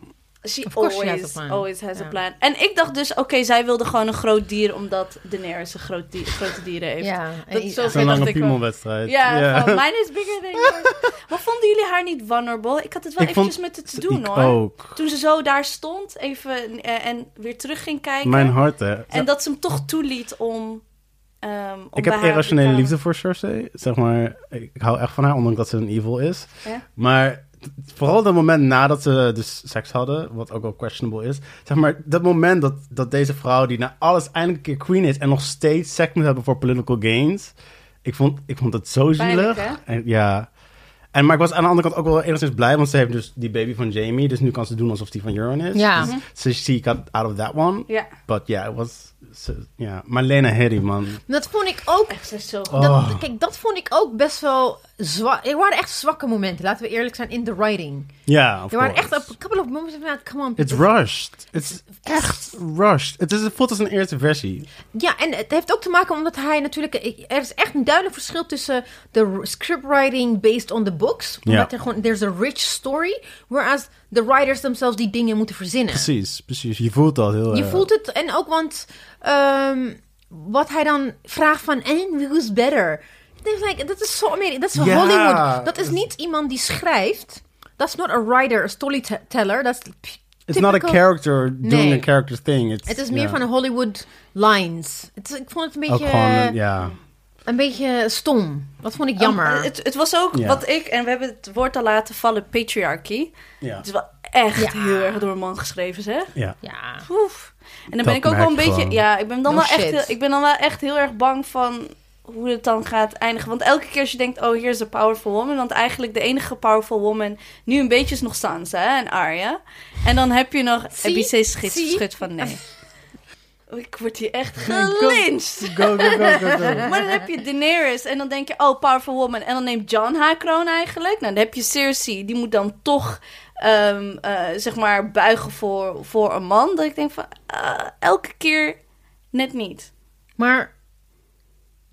A: She
B: Of course
A: always
B: she has a
A: has
B: plan.
A: always has
B: Ja.
A: a plan. En ik dacht dus, oké, zij wilde gewoon een groot dier, omdat Daenerys een groot dier, grote dieren heeft.
B: Ja,
A: Dat
B: en-
A: is zo-
D: Zo'n
A: dacht
D: lange
A: ik wel.
D: piemelwedstrijd.
A: Ja,
D: Ja. *laughs*
A: van, mine is bigger than yours. maar vonden jullie haar niet vulnerable? Ik had het wel
D: Ik vond-
A: eventjes met het te doen,
D: Ik
A: hoor.
D: ook.
A: Toen ze zo daar stond even, eh, en weer terug ging kijken.
D: Mijn hart, hè.
A: En dat ze hem toch toeliet om... ehm, om bij
D: Ik heb
A: haar
D: irrationele
A: te
D: liefde voor Cersei. Zeg maar, ik, ik hou echt van haar, ondanks dat ze een evil is.
A: Ja.
D: Maar t- vooral dat moment nadat ze dus seks hadden, wat ook wel questionable is. Zeg maar, dat moment dat, dat deze vrouw, die na alles eindelijk een keer queen is... en nog steeds seks moet hebben voor political gains. Ik vond, ik vond het zo zielig.
A: Pijnlijk, hè?
D: en, ja. En, maar ik was aan de andere kant ook wel enigszins blij, want ze heeft dus die baby van Jamie. Dus nu kan ze doen alsof die van Euron is.
B: Ja.
D: Dus, so she got out of that one.
A: Mhm. Ja.
D: But yeah, it was... so- yeah. Maar Lena Headey, man.
B: Dat vond ik ook
A: Echt, ze is zo goed.
D: Oh.
B: Dat, kijk, dat vond ik ook best wel zwak. Er waren echt zwakke momenten, laten we eerlijk zijn, in de writing.
D: Ja, of
B: Er waren
D: course.
B: echt een couple of moments van, nou, come on.
D: It's
B: people.
D: rushed. It's echt rushed. Het, is, het voelt als een eerste versie.
B: Ja, en het heeft ook te maken omdat hij natuurlijk... Er is echt een duidelijk verschil tussen de scriptwriting based on the books. Omdat
D: Ja.
B: er gewoon, there's a rich story. Whereas the writers themselves die dingen moeten verzinnen.
D: Precies, eh. precies. Je voelt dat heel
B: Je
D: erg.
B: voelt het, en ook want ehm, wat hij dan vraagt van, en who's better? Ik denk, like, Dat is zo Ameri- dat is
D: Ja.
B: Hollywood. Dat is niet iemand die schrijft. That's not a writer, a storyteller. That's
D: It's not a
B: typical-
D: character doing
B: Nee.
D: a character thing. It's,
B: Het is meer
D: ja.
B: van de Hollywood lines. Het is- ik vond het een
D: Ook
B: beetje,
D: gewoon, een- ja.
B: een beetje stom. Dat vond ik jammer.
A: Oh, het, het was ook
D: Ja.
A: wat ik, en we hebben het woord al laten vallen, patriarchy.
D: Ja.
A: Het is wel echt
B: Ja.
A: heel erg door een man geschreven, zeg.
D: ja.
B: ja.
A: Oef. En dan ben
D: Dat
A: ik ook
D: merk
A: wel een
D: je
A: beetje.
D: gewoon.
A: Ja, ik ben, dan
B: No
A: wel echt
B: shit.
A: heel, ik ben dan wel echt heel erg bang van hoe het dan gaat eindigen. Want elke keer als je denkt, oh, hier is de powerful woman. Want eigenlijk de enige powerful woman nu een beetje is nog Sansa hè, en Arya. En dan heb je nog
B: Zie?
A: ABC schit,
B: Zie?
A: schud van nee. Oh, Ik word hier echt gelinched.
D: Go, go, go, go, go.
A: Maar dan heb
B: *laughs*
A: je Daenerys en dan denk je, oh, powerful woman. En dan neemt Jon haar kroon eigenlijk. Nou, dan heb je Cersei, die moet dan toch, ehm, eh, zeg maar, buigen voor, voor een man. Dat ik denk van, ah, elke keer net niet.
B: Maar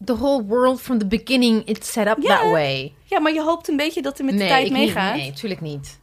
B: the whole world from the beginning, it's set up
A: Ja.
B: that way.
A: Ja, maar je hoopt een beetje dat hij met
B: nee,
A: de tijd
B: ik niet.
A: meegaat.
B: Nee, tuurlijk niet.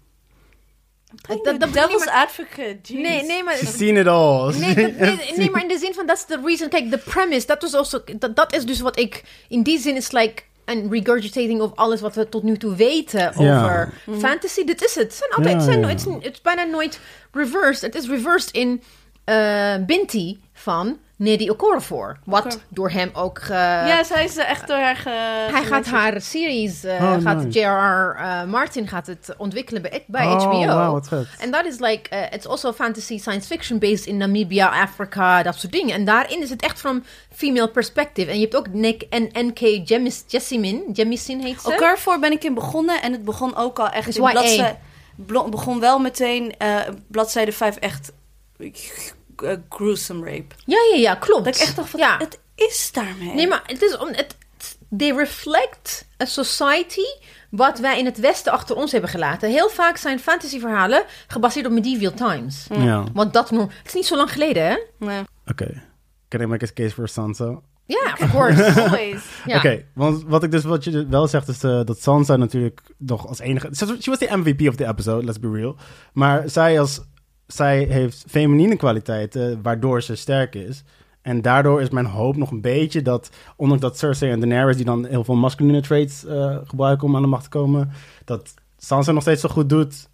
A: Dat,
B: Dat-
A: dat,
B: dat-
A: devil's
B: nee,
A: advocate, jeez.
B: Nee, nee, maar...
D: She's seen it all.
B: Nee, dat- nee, nee, maar in de zin van, that's the reason. Kijk, the premise, dat was also, dat, dat is dus wat ik, in die zin is like een regurgitating of alles wat we tot nu toe weten
D: Ja.
B: over fantasy. Dit is het. Het zijn altijd,
D: Ja,
B: het, zijn,
D: ja.
B: het, is, het is bijna nooit reversed. Het is reversed in eh, Binti van Nedi Okorafor. Wat
A: Okor-
B: door hem ook ge-
A: Ja, zij is er echt door haar ge...
B: hij gaat haar series, eh,
D: Oh,
B: gaat
D: nice.
B: J.R.R. eh, Martin gaat het ontwikkelen bij, bij
D: Oh,
B: HBO.
D: wauw, wat vet.
B: En dat is like, eh, it's also fantasy science fiction based in Namibia, Afrika, dat soort dingen. En daarin is het echt from female perspective. En je hebt ook Nick en N.K. Jemis, Jessamine, Jemisin heet ze.
A: Elkaar voor ben ik in begonnen en het begon ook al echt
B: Dus
A: in
B: YA.
A: bladzijde... blo- begon wel meteen eh, bladzijde 5 echt eh, gruesome rape.
B: Ja, ja, ja, klopt.
A: Dat ik echt dacht van,
B: ja.
A: het is daarmee.
B: Nee, maar het is om, het, het- they reflect a society wat wij in het Westen achter ons hebben gelaten. Heel vaak zijn fantasyverhalen gebaseerd op medieval times.
D: Ja, oké.
B: Want dat noem- Het is niet zo lang geleden, hè?
A: Nee.
B: *laughs*
D: Can I make a case for Sansa?
B: Ja, of course.
D: *laughs*
A: Always.
B: Ja.
D: Oké, want wat ik dus wat je wel zegt is eh, dat Sansa natuurlijk nog als enige. Ze ze was de MVP of the episode, let's be real. Maar zij als zij heeft feminine kwaliteiten waardoor ze sterk is. En daardoor is mijn hoop nog een beetje dat, ondanks dat Cersei en Daenerys die dan heel veel masculine traits eh, gebruiken om aan de macht te komen, dat Sansa nog steeds zo goed doet.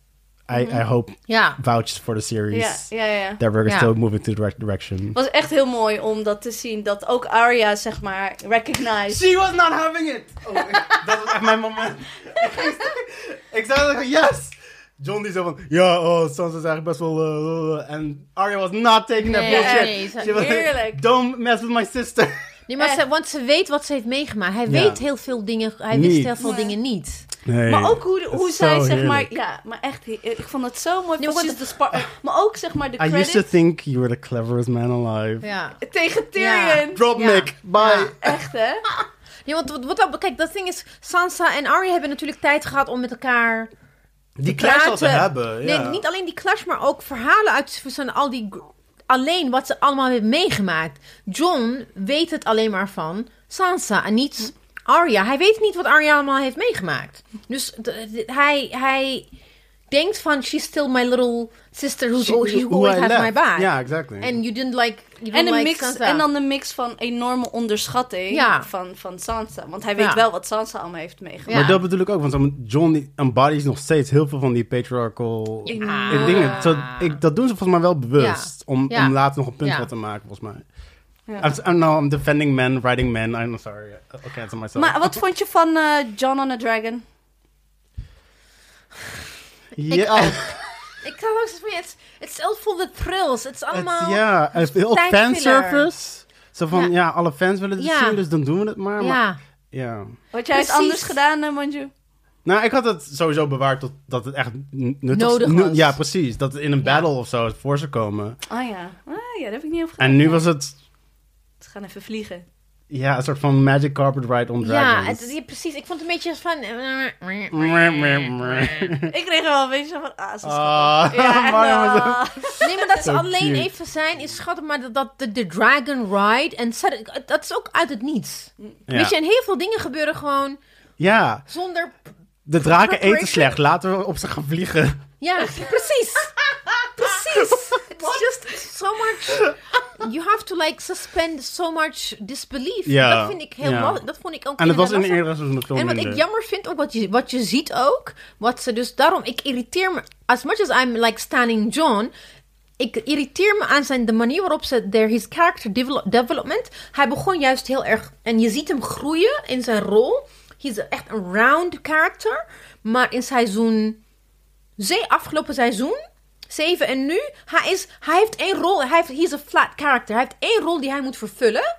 D: I, I hope
B: Mhm. Ja.
D: vouches for the
A: Ja,
D: series
A: ja, ja.
D: that we're
B: Ja.
D: still moving to the right direction.
A: Het was echt heel mooi om dat te zien. Dat ook Arya, zeg maar, recognized.
D: She was not having it. Oh, *laughs* dat was echt mijn *laughs* moment. ik zei dat ik van, yes. John die zo van, ja, oh, Sansa is eigenlijk best wel... eh, eh, En Arya was not taking that
B: Nee,
D: bullshit.
B: nee, ze-
D: She was like,
A: heerlijk.
D: Don't mess with my
B: *laughs*
D: sister.
B: Nee, maar ze,
A: Echt.
B: want ze weet wat ze heeft meegemaakt. Hij
D: Ja.
B: weet heel veel dingen. Hij
D: Niet.
B: wist heel veel
A: Ja.
B: dingen niet.
D: Nee.
A: Maar ook hoe, hoe
D: is
A: zij,
D: zo
A: zeg maar...
D: heerlijk.
A: Ja, maar echt, he- ik vond dat zo mooi.
B: Nee, maar
A: Precies de spark. Maar ook, zeg maar, de
D: I used to
A: credits
D: think you were the cleverest man alive.
B: Ja.
A: tegen Tyrion.
D: Drop
B: Ja.
D: Nick, bye.
A: Echt, hè?
B: Nee, want wat, wat, kijk, dat ding is... Sansa en Arya hebben natuurlijk tijd gehad om met elkaar...
D: Die clash al te
B: praten.
D: hebben.
B: Nee,
D: ja.
B: niet alleen die clash, maar ook verhalen uit van al die... Alleen wat ze allemaal hebben meegemaakt. John weet het alleen maar van Sansa en niet Arya. Hij weet niet wat Arya allemaal heeft meegemaakt. Dus d- d- hij, hij denkt van, she's still my little sister who's al- who
D: Who
B: always
D: I
B: has
D: left.
B: my back.
D: Ja, exactly.
B: En you didn't like, you didn't
A: En, een
B: like
A: mix,
B: Sansa.
A: en dan de mix van enorme onderschatting
B: Ja.
A: van, van Sansa. Want hij weet
B: Ja.
A: wel wat Sansa allemaal heeft meegemaakt.
D: Maar
B: Ja.
D: dat bedoel ik ook, want zo'n John embodies nog steeds heel veel van die patriarchal
A: Ik-
D: eh, dingen. Zo, ik, dat doen ze volgens mij wel bewust, om,
B: Ah. Ja.
D: om later nog een punt
B: Ja.
D: van te maken, volgens mij. Ah, I'm, I'm, no, nou, I'm defending men, writing men, I'm sorry, Uh, I'll cancel myself.
A: Maar wat vond je van eh, John on a Dragon?
D: ja,
B: Ik kan ook zeggen, it's, it's all full of thrills. Het is allemaal...
D: het, ja, het is heel
B: tijdfiller.
D: fanservice. Zo van,
B: Ja.
D: ja. alle fans willen het
B: Ja.
D: zien, dus dan doen we het maar. maar-
B: ja.
D: ja.
A: Had jij het
B: Precies.
A: anders gedaan, eh, Manju?
D: Nou, ik had het sowieso bewaard tot, dat het echt n- nuttig
B: Nodig
D: nu-
B: was.
D: Ja, precies. Dat het in een battle of zo voor zou komen.
A: Oh ja. Ah, ja, daar heb ik niet over
D: En nu was het
A: Ze gaan even vliegen.
D: Ja, een soort van magic carpet ride on
B: Ja,
D: dragons. *laughs*
B: het, ja, precies. Ik vond het een beetje van...
D: Ah.
A: ik kreeg er wel een beetje zo van, ah, ze is
D: Ah, *laughs*
A: schattig. Ja, echt eh.
D: Mario was
A: wel.
B: Nee, maar
D: *laughs*
B: dat ze
D: Zo
B: alleen
D: Oh, cute.
B: even zijn is schattig. Maar dat, dat de, de dragon ride... En sudden- dat is ook uit het niets. Weet je,
D: Ja.
B: en heel veel dingen gebeuren gewoon
D: ja,
B: zonder...
D: de draken
B: Preparation.
D: eten slecht. Laten we op ze gaan vliegen. *laughs*
B: Ja, precies. Precies. It's just so much... You have to like suspend so much disbelief.
D: Ja.
B: Dat vind ik heel
D: Ja.
B: lastig. Dat vond ik ook
D: En dat was in
B: inderdaad
D: de
B: lastig.
D: eerdere seizoen veel
B: En wat
D: minder.
B: ik jammer vind, ook wat je, wat je ziet ook, wat ze dus daarom, ik irriteer me, as much as I'm like standing John, ik irriteer me aan zijn, de manier waarop ze, their, his character develop- development, hij begon juist heel erg, en je ziet hem groeien in zijn rol, he's echt een round character, maar in seizoen, ze, afgelopen seizoen, 7 en nu, hij, is, hij heeft één rol, hij heeft, he's a flat character, hij heeft één rol die hij moet vervullen,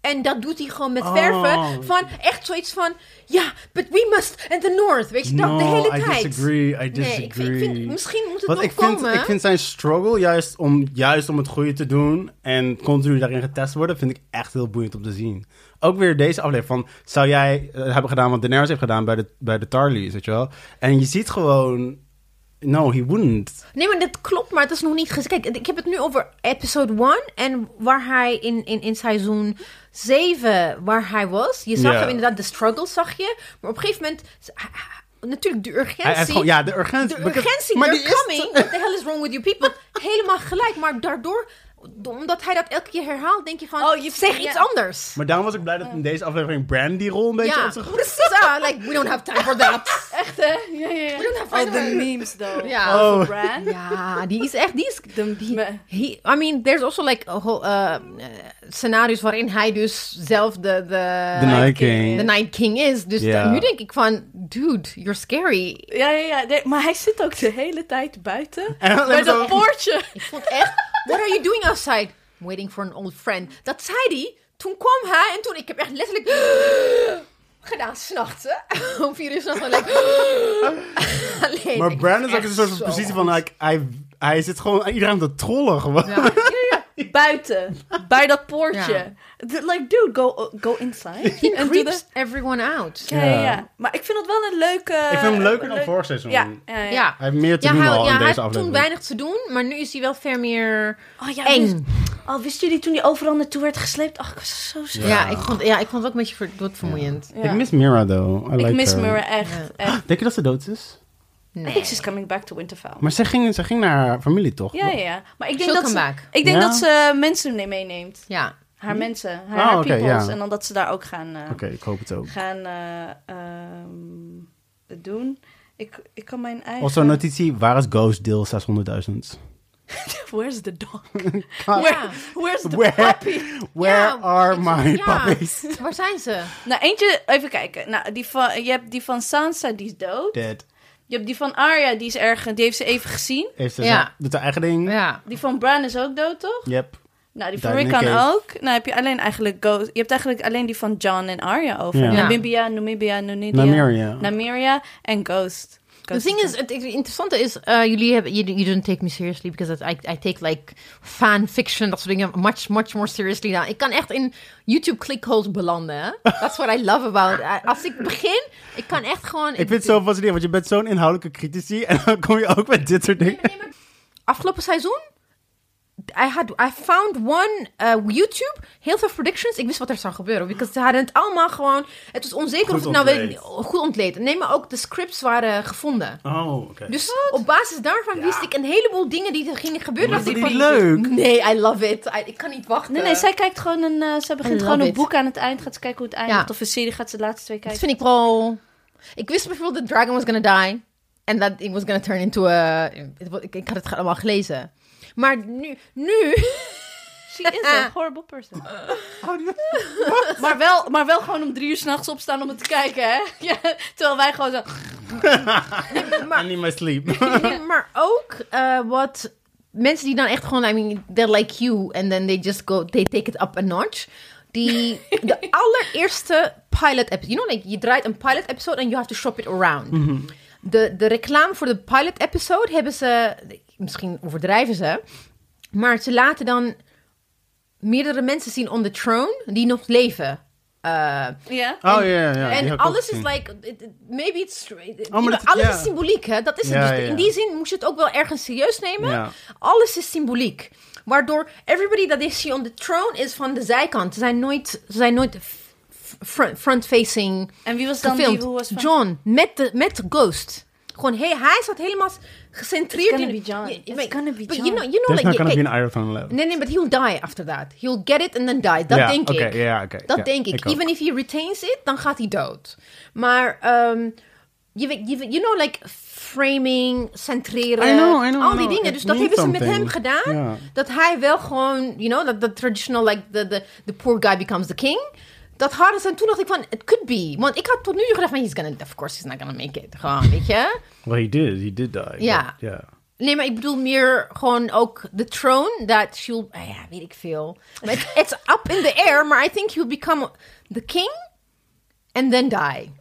B: en dat doet hij gewoon met
D: Oh.
B: verven. Van echt zoiets van. Ja, but we must. And the North. Weet je dat?
D: No,
B: de hele
D: I
B: tijd.
D: disagree. I
B: Nee, ik vind,
D: disagree.
B: ik vind- misschien moet het
D: Want
B: nog
D: ik vind,
B: komen.
D: ik vind zijn struggle, juist om, juist om het goede te doen en continu daarin getest worden, vind ik echt heel boeiend om te zien. Ook weer deze aflevering van, zou jij eh, hebben gedaan wat Daenerys heeft gedaan bij de, bij de Tarlys, weet je wel? En je ziet gewoon, no, he wouldn't.
B: Nee, maar dat klopt, maar het is nog niet gezien. Kijk, ik heb het nu over episode 1 en waar hij in, in, in seizoen 7, waar hij was. Je zag
D: Ja.
B: hem inderdaad, de struggle zag je. Maar op een gegeven moment, natuurlijk de urgentie.
D: Hij heeft gewoon, ja, de urgentie.
B: De urgentie,
D: maar
B: they're
D: die is
B: coming. What the hell is wrong with you people? Helemaal gelijk, maar daardoor, omdat hij dat elke keer herhaalt, denk je van,
A: Oh, je-
B: zeg
A: ja.
B: iets anders.
D: Maar daarom was ik blij dat in deze aflevering Brand die rol een beetje
B: Ja,
D: op zich...
B: precies. Ah, like, we don't have time for that.
A: Echt, hè? Ja, ja,
B: We don't
A: ja.
B: have time
A: Oh,
B: for
A: de memes, though.
B: Ja.
D: Oh.
A: Over Bran.
B: Ja, die is echt, die is...
A: De-
B: die-
A: me-
B: he- I mean, there's also like a whole, eh, eh, scenario's waarin hij dus zelf de... De
D: The Night King.
B: de Night King is. Dus
D: Ja.
B: dan- nu denk ik van, dude, you're scary.
A: Ja, ja, ja. Nee, maar hij zit ook de hele tijd buiten.
D: En dan
A: Bij
D: hebben
A: dat
D: ze-
A: poortje.
B: Ik vond echt, what are you doing outside? I'm waiting for an old friend. Dat zei hij. Toen kwam hij en toen, ik heb echt letterlijk... *gasps* Gedaan, s'nachts, hè. *laughs* Om vier uur s'nachts, like... *gasps* Alleen,
D: Maar
B: ik
D: Brand
B: was
D: is ook in
B: echt
D: een soort van
B: zo
D: positie
B: goed.
D: van... Like, hij, hij zit gewoon iedereen te trollen gewoon.
B: Ja.
A: Buiten. Bij dat poortje.
B: Ja.
A: D- Like, dude, go, go inside.
B: He
A: En doe
B: creeps
A: de-
B: everyone out.
A: Ja, ja, ja. Maar ik vind het wel een leuke...
D: Ik vind hem leuker dan
A: Eh, leuk-
D: vorig seizoen.
A: Ja, ja, ja.
B: Ja.
D: Hij heeft meer te
B: Ja,
D: doen
B: hij,
D: al
B: ja,
D: in
B: hij had
D: deze
B: toen
D: aflevering.
B: weinig te doen, maar nu is hij wel veel meer
A: Oh, ja,
B: eng.
A: wist- oh, wisten jullie toen die overal naartoe werd gesleept? Ach, ik was zo zo.
B: Ja, ik, vond, ja ik vond het ook een beetje ver, wat vermoeiend.
A: Ja.
D: Ik mis Mira, though. I
A: Ik
D: like
A: mis
D: her.
A: Mira echt.
B: Ja.
A: echt.
D: Denk je dat ze dood is?
A: I
B: Nee.
A: think she's coming back to Winterfell.
D: Maar ze ging, ze ging naar haar familie, toch?
A: Ja, ja, ja. Maar ik denk,
B: She'll
A: dat ze,
B: come back.
A: ik denk
D: Ja?
A: dat ze mensen mee- meeneemt.
B: Ja.
A: Haar mensen, haar,
D: Oh,
A: haar
D: oké,
A: peoples.
D: ja.
A: En dan dat ze daar ook gaan, eh,
D: Oké, ik hoop het ook.
A: gaan eh, ehm, het doen. Ik, ik kan mijn eigen...
D: Also, notitie, waar is Ghost deel 600.000?
A: *laughs* Where's the
D: *laughs*
A: dog?
D: Ah.
A: Where- where's the
D: Where-
A: puppy?
D: Where
B: Ja,
D: are
B: ik-
D: my
B: ja.
D: puppies?
B: *laughs* Waar zijn ze?
A: Nou, eentje, even kijken. Nou, die van, je hebt die van Sansa, die is dood.
D: Dead.
A: Je hebt die van Arya, die is ergens, die heeft ze even gezien.
D: Heeft ze
B: Ja.
D: zo- doet haar eigen ding?
B: Ja.
A: Die van Bran is ook dood, toch?
D: Yep.
A: Nou, die van
D: Daar in de
A: Rickon
D: cave.
A: ook. Nou, heb je alleen eigenlijk Ghost. Je hebt eigenlijk alleen die van John en Arya over.
D: Ja.
B: Ja.
A: Namibia, Namibia, Numidia.
D: Nymeria.
A: Namiria en Ghost.
B: The
A: Ghost
B: thing is, het interessante is, eh, jullie hebben, you, you don't take me seriously, because I, I take like fan fiction, dat soort dingen, much, much more seriously now. Ik kan echt in YouTube clickholes belanden, hè. That's what I love
D: *laughs*
B: about it. Als ik begin, ik kan echt gewoon...
D: Ik vind het zo fascinerend, want je bent zo'n *laughs* inhoudelijke critici en dan kom je ook met dit soort dingen.
B: afgelopen seizoen, I had I found one eh, YouTube, heel veel predictions. Ik wist wat er zou gebeuren, because ze hadden het allemaal gewoon. Het was onzeker
C: Goed
B: of het nou wel-
C: ontleed.
B: goed ontleed. Nee, maar ook de scripts waren gevonden.
C: Oh, oké.
B: Dus op basis daarvan
C: Ja.
B: wist ik een heleboel dingen die er gingen gebeuren.
C: Maar
B: Dacht
C: vond
B: ik
C: je
B: van,
C: die leuk?
B: Nee, I love it. I- ik kan niet wachten.
A: Nee, nee, zij kijkt gewoon een... eh, zij begint
B: I
A: gewoon
B: love
A: een
B: it.
A: boek aan het eind. Gaat ze kijken hoe het eindigt.
B: Ja.
A: Of een serie gaat ze de laatste twee
B: Dat
A: kijken.
B: vind ik wel. Ik wist bijvoorbeeld dat Dragon was gonna die. En dat it was gonna turn into a. het wa- Ik, ik had het allemaal gelezen. Maar nu, nu *laughs*
A: She is a horrible person. Ah.
D: Oh,
A: *laughs* maar, wel, maar wel gewoon om drie uur s'nachts opstaan om het te kijken, hè? *laughs* Ja, terwijl wij gewoon zo...
D: I need my sleep.
B: Nee, *laughs* maar ook eh, wat mensen die dan echt gewoon, I mean, they're like you, and then they just go, they take it up a notch. Die, de allereerste pilot episode, you know, like, je draait een pilot episode and you have to shop it around. De, de reclame voor de pilot episode hebben ze, misschien overdrijven ze, maar ze laten dan meerdere mensen zien on the throne die nog leven. Eh,
A: Ja?
D: Oh ja, ja, ja.
B: en alles is like, it- it- maybe it's, you know,
D: Oh, dat-
B: alles
D: ja.
B: is symboliek, hè? Dat is het.
D: Ja,
B: dus
D: ja,
B: in
D: ja.
B: die zin moet je het ook wel ergens serieus nemen.
D: Ja.
B: Alles is symboliek. Waardoor everybody that they see on the throne is van de zijkant. Ze zijn nooit, ze zijn nooit f- f- front- front-facing
A: En wie was dan
B: gefilmd.
A: die... Hoe was van...
B: John, met de, met de ghost. Gewoon, hey, hij zat helemaal gecentreerd.
A: It's gonna
B: in-
A: be John.
B: Je-
A: It's
B: maar-
A: gonna be
B: but
A: John.
B: You know, you know,
D: There's
B: like,
D: not gonna
B: kijk,
D: be an Iron Throne left.
B: Nee, nee, but he'll die after that. He'll get it and then die. Dat
D: Ja,
B: denk
D: oké,
B: ik.
D: ja, oké,
B: dat
D: ja,
B: denk ik.
D: ik ook.
B: Even if he retains it, dan gaat hij dood. Maar ehm, je weet, je weet- you know, like framing, centreren,
D: I know, I know,
B: al
D: I
B: die
D: know.
B: dingen.
D: It
B: Dus dat
D: means
B: hebben ze met hem
D: something.
B: gedaan.
D: Ja.
B: Dat hij wel gewoon, you know, dat dat traditional, like the, the, the poor guy becomes the king. Dat hadden ze en toen dacht ik van, it could be. Want ik had tot nu toe gedacht van, he's gonna, of course he's not gonna make it. Gewoon, weet je.
D: Well, he did. He did die.
B: Ja.
D: But, yeah.
B: Nee, maar ik bedoel meer gewoon ook de throne. Dat she'll... ah ja, weet ik veel. Maar
A: *laughs*
B: het- it's up in the air, maar I think he'll become the king and then die.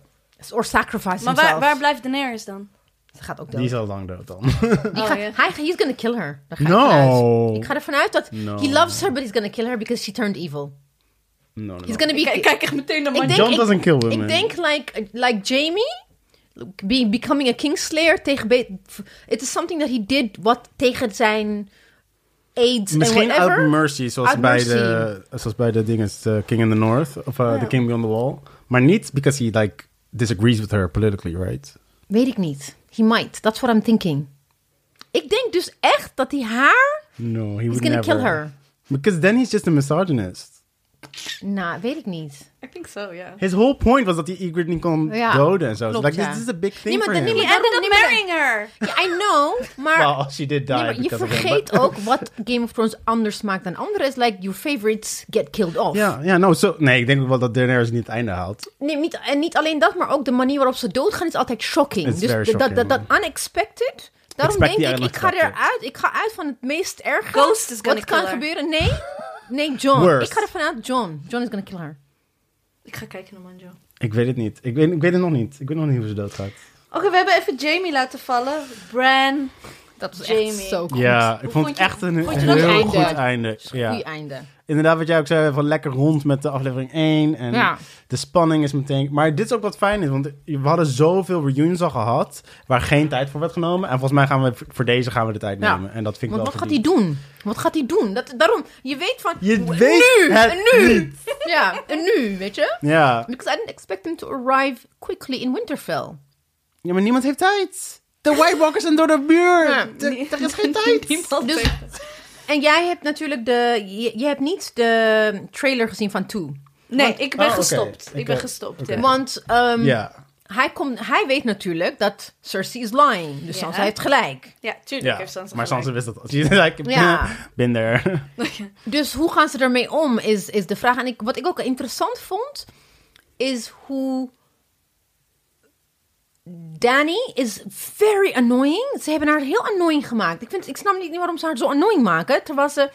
B: Or sacrifice
A: Maar
B: himself.
A: waar, waar blijft Daenerys dan?
B: Ze gaat ook dood.
D: Die is al lang dood *laughs* dan.
B: Die gaat-
A: Oh, ja.
B: hij, he's gonna kill her. Daar ga ik
D: No.
B: vanuit. Ik ga ervan uit dat...
D: No.
B: He loves her, but he's gonna kill her because she turned evil.
D: No, no,
B: He's
D: no.
B: gonna be...
A: Ik kijk echt meteen naar
B: Ik
A: mijn...
B: denk-
D: John doesn't kill women.
B: Ik denk like, like Jamie be, becoming a kingslayer tegen be- it is something that he did wat tegen zijn aids en
D: Misschien
B: whatever.
D: out mercy, zoals,
B: Out
D: bij,
B: mercy.
D: De, zoals bij de dinges eh, King in the North of eh, The King Beyond the Wall. Maar niet because he like disagrees with her politically, right?
B: Weet ik niet. He might. That's what I'm thinking. Ik denk dus echt dat hij haar...
D: No, he
B: He's
D: would
B: gonna
D: never.
B: kill her.
D: Because then he's just a misogynist.
B: Nou, weet ik niet.
A: Ik denk zo, ja.
D: His whole point was dat hij Ygritte niet kon
B: Ja,
D: doden en zo.
B: klopt,
D: like,
B: ja.
D: this is a big
B: Nee,
D: thing
B: maar
D: for
B: dan-
D: him.
B: nee, maar-
A: He ended
B: dan-
A: up
B: nee, maar-
A: marrying her.
B: Ja, I
D: *laughs*
B: know, maar...
D: well, she did die
B: Nee, maar je
D: because of him.
B: vergeet ook wat Game of Thrones anders maakt dan anderen. Is like, your favorites get killed off.
D: Ja, ja nou, zo, nee, ik denk ook wel dat Daenerys niet het einde haalt.
B: Nee, niet, en niet alleen dat, maar ook de manier waarop ze doodgaan is altijd shocking.
D: It's
B: dus
D: very
B: dat- dat, dat,
D: shocking.
B: dat unexpected. Daarom
D: Expect
B: denk
D: the
B: ik, ik ga
D: unexpected.
B: eruit. Ik ga uit van het meest erg.
A: Ghost is gonna
B: Wat kan
A: kill her.
B: gebeuren? Nee, nee, John.
D: Worst.
B: Ik ga ervan uit, John. John is gonna kill her.
A: Ik ga kijken naar Manjo.
D: Ik weet het niet. Ik weet, ik weet het nog niet. Ik weet nog niet hoe ze doodgaat.
A: Oké, we hebben even Jamie laten vallen. Bran.
B: Dat was
A: Jamie.
B: echt zo goed.
D: Ja,
A: Hoe
D: ik vond
A: vond
D: het
A: je-
D: echt een
A: vond je
D: heel
A: dat
B: einde?
D: goed einde.
B: Goeie
D: Ja.
B: einde.
D: Inderdaad, wat jij ook zei, van lekker rond met de aflevering 1. En
B: Ja.
D: de spanning is meteen... Maar dit is ook wat fijn is, want we hadden zoveel reunions al gehad... waar geen tijd voor werd genomen. En volgens mij gaan we voor deze gaan we de tijd
B: Ja.
D: nemen. En dat vind ik
B: Want
D: wel
B: wat gaat hij
D: verdiend.
B: doen? Wat gaat hij doen? Dat, daarom, je weet van...
D: Je
B: w-
D: weet
B: nu,
D: het
B: en nu.
D: niet.
B: Ja, en nu, weet je?
D: Ja.
B: Because I didn't expect him to arrive quickly in Winterfell.
D: ja, maar niemand heeft tijd. De White Walkers zijn door de muur.
B: Ja.
D: Er- Er is
B: *laughs*
D: geen tijd.
B: Dus, en jij hebt natuurlijk de... Je, je hebt niet de trailer gezien van Toe.
A: Nee, ik ben
D: Oh, oké.
A: gestopt. Ik
D: Oké.
A: ben gestopt, ja.
B: Want ehm,
D: Ja.
B: hij, komt, hij weet natuurlijk dat Cersei is lying. Dus
A: Ja.
B: Sansa heeft gelijk.
A: Ja, tuurlijk
D: Ja,
A: heeft Sansa
D: maar
A: gelijk.
D: Sansa wist dat al. She's *laughs* like,
B: Ja.
D: been there.
A: *laughs*
B: Dus hoe gaan ze ermee om, is, is de vraag. En ik, wat ik ook interessant vond, is hoe... Danny is very annoying. Ze hebben haar heel annoying gemaakt. Ik, vind, ik snap niet waarom ze haar zo annoying maken. Terwijl ze...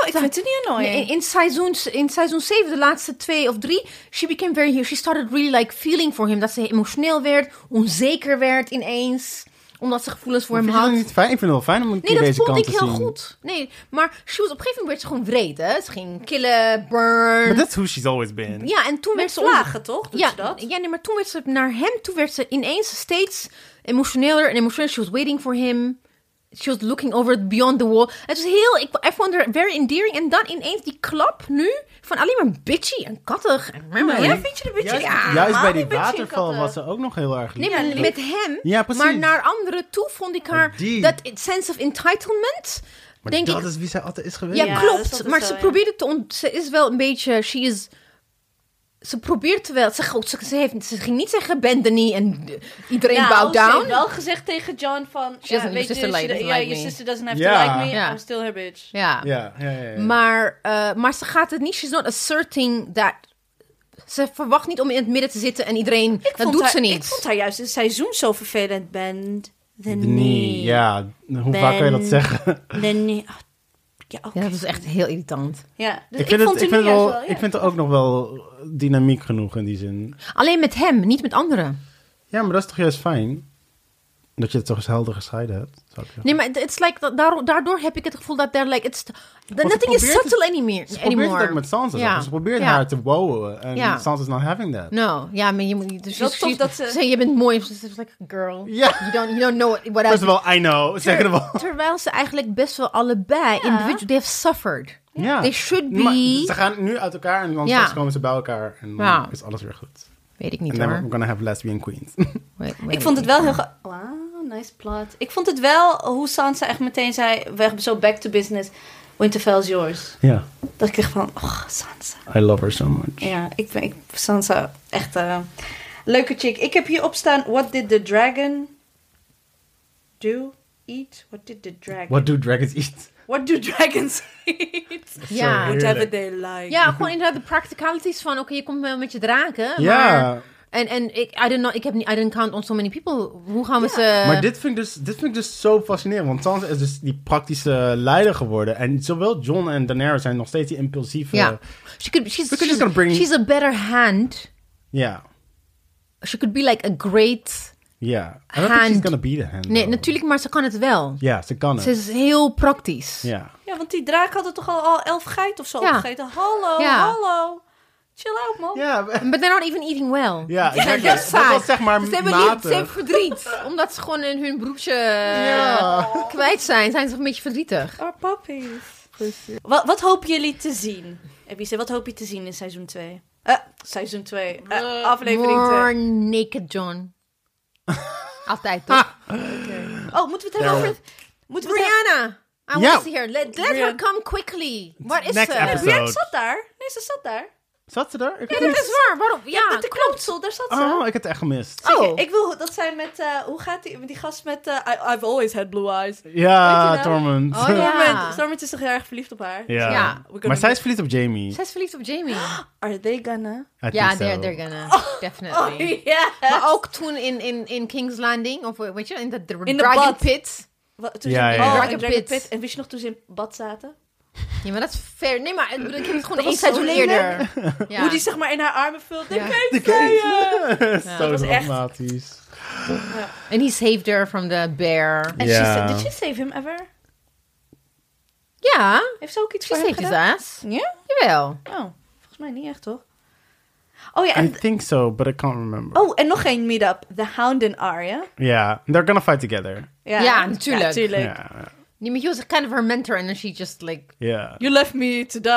A: Oh, ik vind het niet annoying.
B: Nou, In, in, seizoen, in seizoen 7, de laatste twee of drie, she became very here. She started really like feeling for him. Dat ze emotioneel werd, onzeker werd ineens. Omdat ze gevoelens voor hem
D: Vind je dat
B: had.
D: niet fijn? Ik vind het wel fijn om een keer
B: Nee, dat
D: deze
B: vond
D: kant
B: ik
D: te zien.
B: heel goed. Nee, maar she was, op een gegeven moment werd ze gewoon wreed, hè. Ze ging killen, burn.
D: Maar that's who she's always been.
B: Ja, en toen werd
A: Met
B: ze... onze-
A: vlagen, toch? Doet
B: ja,
A: ze dat?
B: ja, nee, maar toen werd ze naar hem, toen werd ze ineens steeds emotioneler en emotioneler. She was waiting for him. She was looking over it beyond the wall. Het was heel... Ik, I vond her very endearing. En dan ineens die klap nu van alleen maar bitchy en kattig. En
A: Ja, vind je de bitchy?
D: Juist,
A: ja,
D: juist
A: maar
D: bij die
A: bitchy
D: waterval
A: katten.
D: was ze ook nog heel erg lief.
B: eh, Nee, maar
A: Ja,
B: met hem.
D: Ja, precies. Oh,
B: Maar naar anderen toe vond ik haar...
D: Die.
B: Dat sense of entitlement...
E: Maar
B: denk
E: dat
B: ik,
E: is wie zij altijd is geweest.
B: Ja,
A: Ja, dat is
B: klopt.
A: altijd
B: Maar
A: zo,
B: ze
A: ja.
B: probeerde te ont... Ze is wel een beetje... She is... Ze probeert wel... Ze, ze, ze, heeft, ze ging niet zeggen bend the knee en eh, iedereen
A: Nou,
B: bow
A: Ze
B: down.
A: heeft wel gezegd tegen John van...
B: She doesn't- your
A: weet je,
B: sister
A: she-
B: doesn't
A: ja,
B: like
A: your
B: me.
A: sister doesn't have
D: Ja.
A: to like me.
B: Ja.
A: I'm still her bitch.
B: Ja.
D: Ja, ja, ja. ja.
B: Maar, eh, maar ze gaat het niet... She's not asserting that... Ze verwacht niet om in het midden te zitten en iedereen...
A: Ik
B: dat
A: vond
B: doet
A: haar-
B: ze
A: Ik
B: niet.
A: vond haar juist het seizoen zo vervelend. Bend the
D: De
A: knee.
D: knee. Ja, hoe vaak kan je dat
A: Ben-
D: zeggen?
A: The
B: *laughs*
A: knee. Oh, ja, oké.
B: Ja, dat is echt heel irritant.
A: Ja, dus
D: Ik vind,
A: vond
D: het, ik,
A: haar
D: vind
A: nu
D: het
A: juist
D: wel,
A: ja.
D: ik vind er ook nog wel dynamiek genoeg in die zin.
B: Alleen met hem, niet met anderen.
D: Ja, maar dat is toch juist fijn? Dat je het toch eens helder gescheiden hebt. Zou ik zeggen.
B: Nee, maar het is like... dat- daardoor- Daardoor heb ik het gevoel dat they're like... It's, that
D: ze
B: nothing is
D: probeert het-
B: subtle anymore.
D: Ze probeert het ook met Sansa.
B: Ja.
D: toch? Ze probeert
B: Ja.
D: haar te wowen. En
B: Ja.
D: Sansa is not having that.
B: No, ja, maar je moet niet. Dus
A: Wel
B: je-
A: tof
B: je-
A: dat ze-
B: je bent mooi. Ze is like, girl.
D: Ja.
B: You don't, you don't know what, what
D: First
B: I...
D: of all, I know. Second of all.
B: Terwijl ze eigenlijk best wel allebei individual, they have suffered.
D: Ja.
B: They should
D: Maar
B: be-
D: ze gaan nu uit elkaar en dan
B: Ja.
D: straks komen ze bij elkaar. En dan
B: Ja.
D: is alles weer goed.
B: Weet ik
D: En
B: niet
D: then
B: hoor.
D: we're gonna have lesbian queens. *laughs*
B: Wait, wait,
A: Ik vond het
B: wait.
A: wel heel... ge- Wauw, Ah, nice plot. Ik vond het wel hoe Sansa echt meteen zei... weg zo back to business. Winterfell is yours.
D: Ja.
A: Dat ik echt van... Oh, Sansa.
D: I love her so much.
A: Ja, ik ben ik, Sansa echt eh, leuke chick. Ik heb hier opstaan: What did the dragon do? Eat? What did the dragon?
D: What do dragons eat? *laughs*
A: What do dragons *laughs* eat?
B: Ja.
D: Heerlijk.
A: Whatever they like.
B: Ja, gewoon inderdaad de practicalities van, oké, je komt wel met je draken, maar...
D: Ja.
B: En, en ik, I don't know, ik heb niet, I didn't count on so many people. Hoe gaan we
A: Ja.
B: ze...
D: Maar dit vind, ik dus, dit vind ik dus zo fascinerend. Want Sansa is dus die praktische leider geworden. En zowel Jon en Daenerys zijn nog steeds die impulsieve...
B: Ja. She could, she's,
D: We could
B: she's,
D: just gonna bring-
B: she's a better hand.
D: Ja.
B: She could be like a great...
D: Ja. I don't think
B: Hand.
D: she's gonna be the hand.
B: Nee,
D: though.
B: natuurlijk, maar ze kan het wel.
D: Ja, ze kan
B: Ze
D: het.
B: is heel praktisch.
D: Ja.
A: Ja, want die draak hadden toch al, al elf geit of zo
B: Ja.
A: opgegeten. Hallo,
B: Ja.
A: hallo. Chill out, man.
D: Ja, *laughs*
B: But they're not even eating well.
D: Ja,
B: Ze zijn
D: exactly.
B: heel
D: Dat
B: saai.
D: was zeg maar
B: Ze hebben, lief, ze
D: matig.
B: hebben verdriet. Omdat ze gewoon in hun broertje eh,
D: Ja.
B: kwijt zijn, zijn ze een beetje verdrietig.
A: Our puppies. Wat, wat hopen jullie te zien? Ebice, wat hoop je te zien in seizoen 2? Eh, seizoen 2. aflevering 2.
B: More
D: *laughs*
B: naked John. Altijd toch?
A: Oh, moeten we het hebben over... Moeten we het
B: Brianna! I want
D: Ja.
B: to see her. Let, let her
A: Brian-
B: come quickly. Waar is
D: Next
B: ze?
A: hebben...
D: episode.
A: Brian zat daar. Nee, ze zat daar.
D: Zat ze daar? Ik
B: Ja,
D: heb
B: dat
D: het
B: is waar. Waarom? Ja,
A: Met de knotsel, daar zat ze.
D: Oh, ik heb het echt gemist.
B: Oh.
A: Oké, ik wil dat zij met, eh, hoe gaat die, die gast met, eh, I, I've always had blue eyes. Weet je
D: Ja,
A: nou?
D: Tormund.
B: Oh, ja.
A: Stormont, Stormont is toch heel erg verliefd op haar?
D: *laughs* Ja.
B: Ja.
D: Maar zij is verliefd op Jamie.
B: Zij is verliefd op Jamie.
D: Ah.
A: Are they gonna?
D: I
B: Ja,
D: think
B: they're,
D: so.
B: they're gonna.
A: Oh,
B: Definitely.
A: ja.
B: Maar ook toen in, in, in King's Landing, of weet je, in de dra-
A: In de
B: Dragon
A: bad.
B: Pit.
A: Wat, toen
D: Ja,
A: ze,
D: ja, ja.
A: Oh,
B: Dragon
A: in Dragon
B: Pit.
A: Pit. En wist je nog toen ze in bad zaten?
B: Ja, maar dat is fair. uh, Nee, maar ik bedoel, ik heb het gewoon
A: Dat
B: één
A: was zo
B: seizoen
A: lelijk.
B: eerder. Ja.
A: Hoe die zeg maar in haar armen vult.
B: Ja.
A: Ja. Kijk,
D: *laughs* Zo
A: was echt-
D: dramatisch.
B: En he saved her from the bear.
A: En
D: Ja.
A: she said, did she save him ever?
B: Ja,
A: Heeft ze ook iets
B: she
A: voor hem
B: saved his
A: gedaan?
B: ass.
A: Ja?
B: Jawel.
A: Oh, volgens mij niet echt, toch? Oh ja,
D: I
A: en,
D: think so, but I can't remember.
A: oh, en nog één meet-up. The Hound and Arya.
D: Yeah, they're gonna fight together.
A: Ja,
B: Ja, natuurlijk.
A: natuurlijk.
D: Yeah.
B: Nee, maar he was kind of her mentor and then she just like... *laughs*
D: Yeah.
A: You left me to die.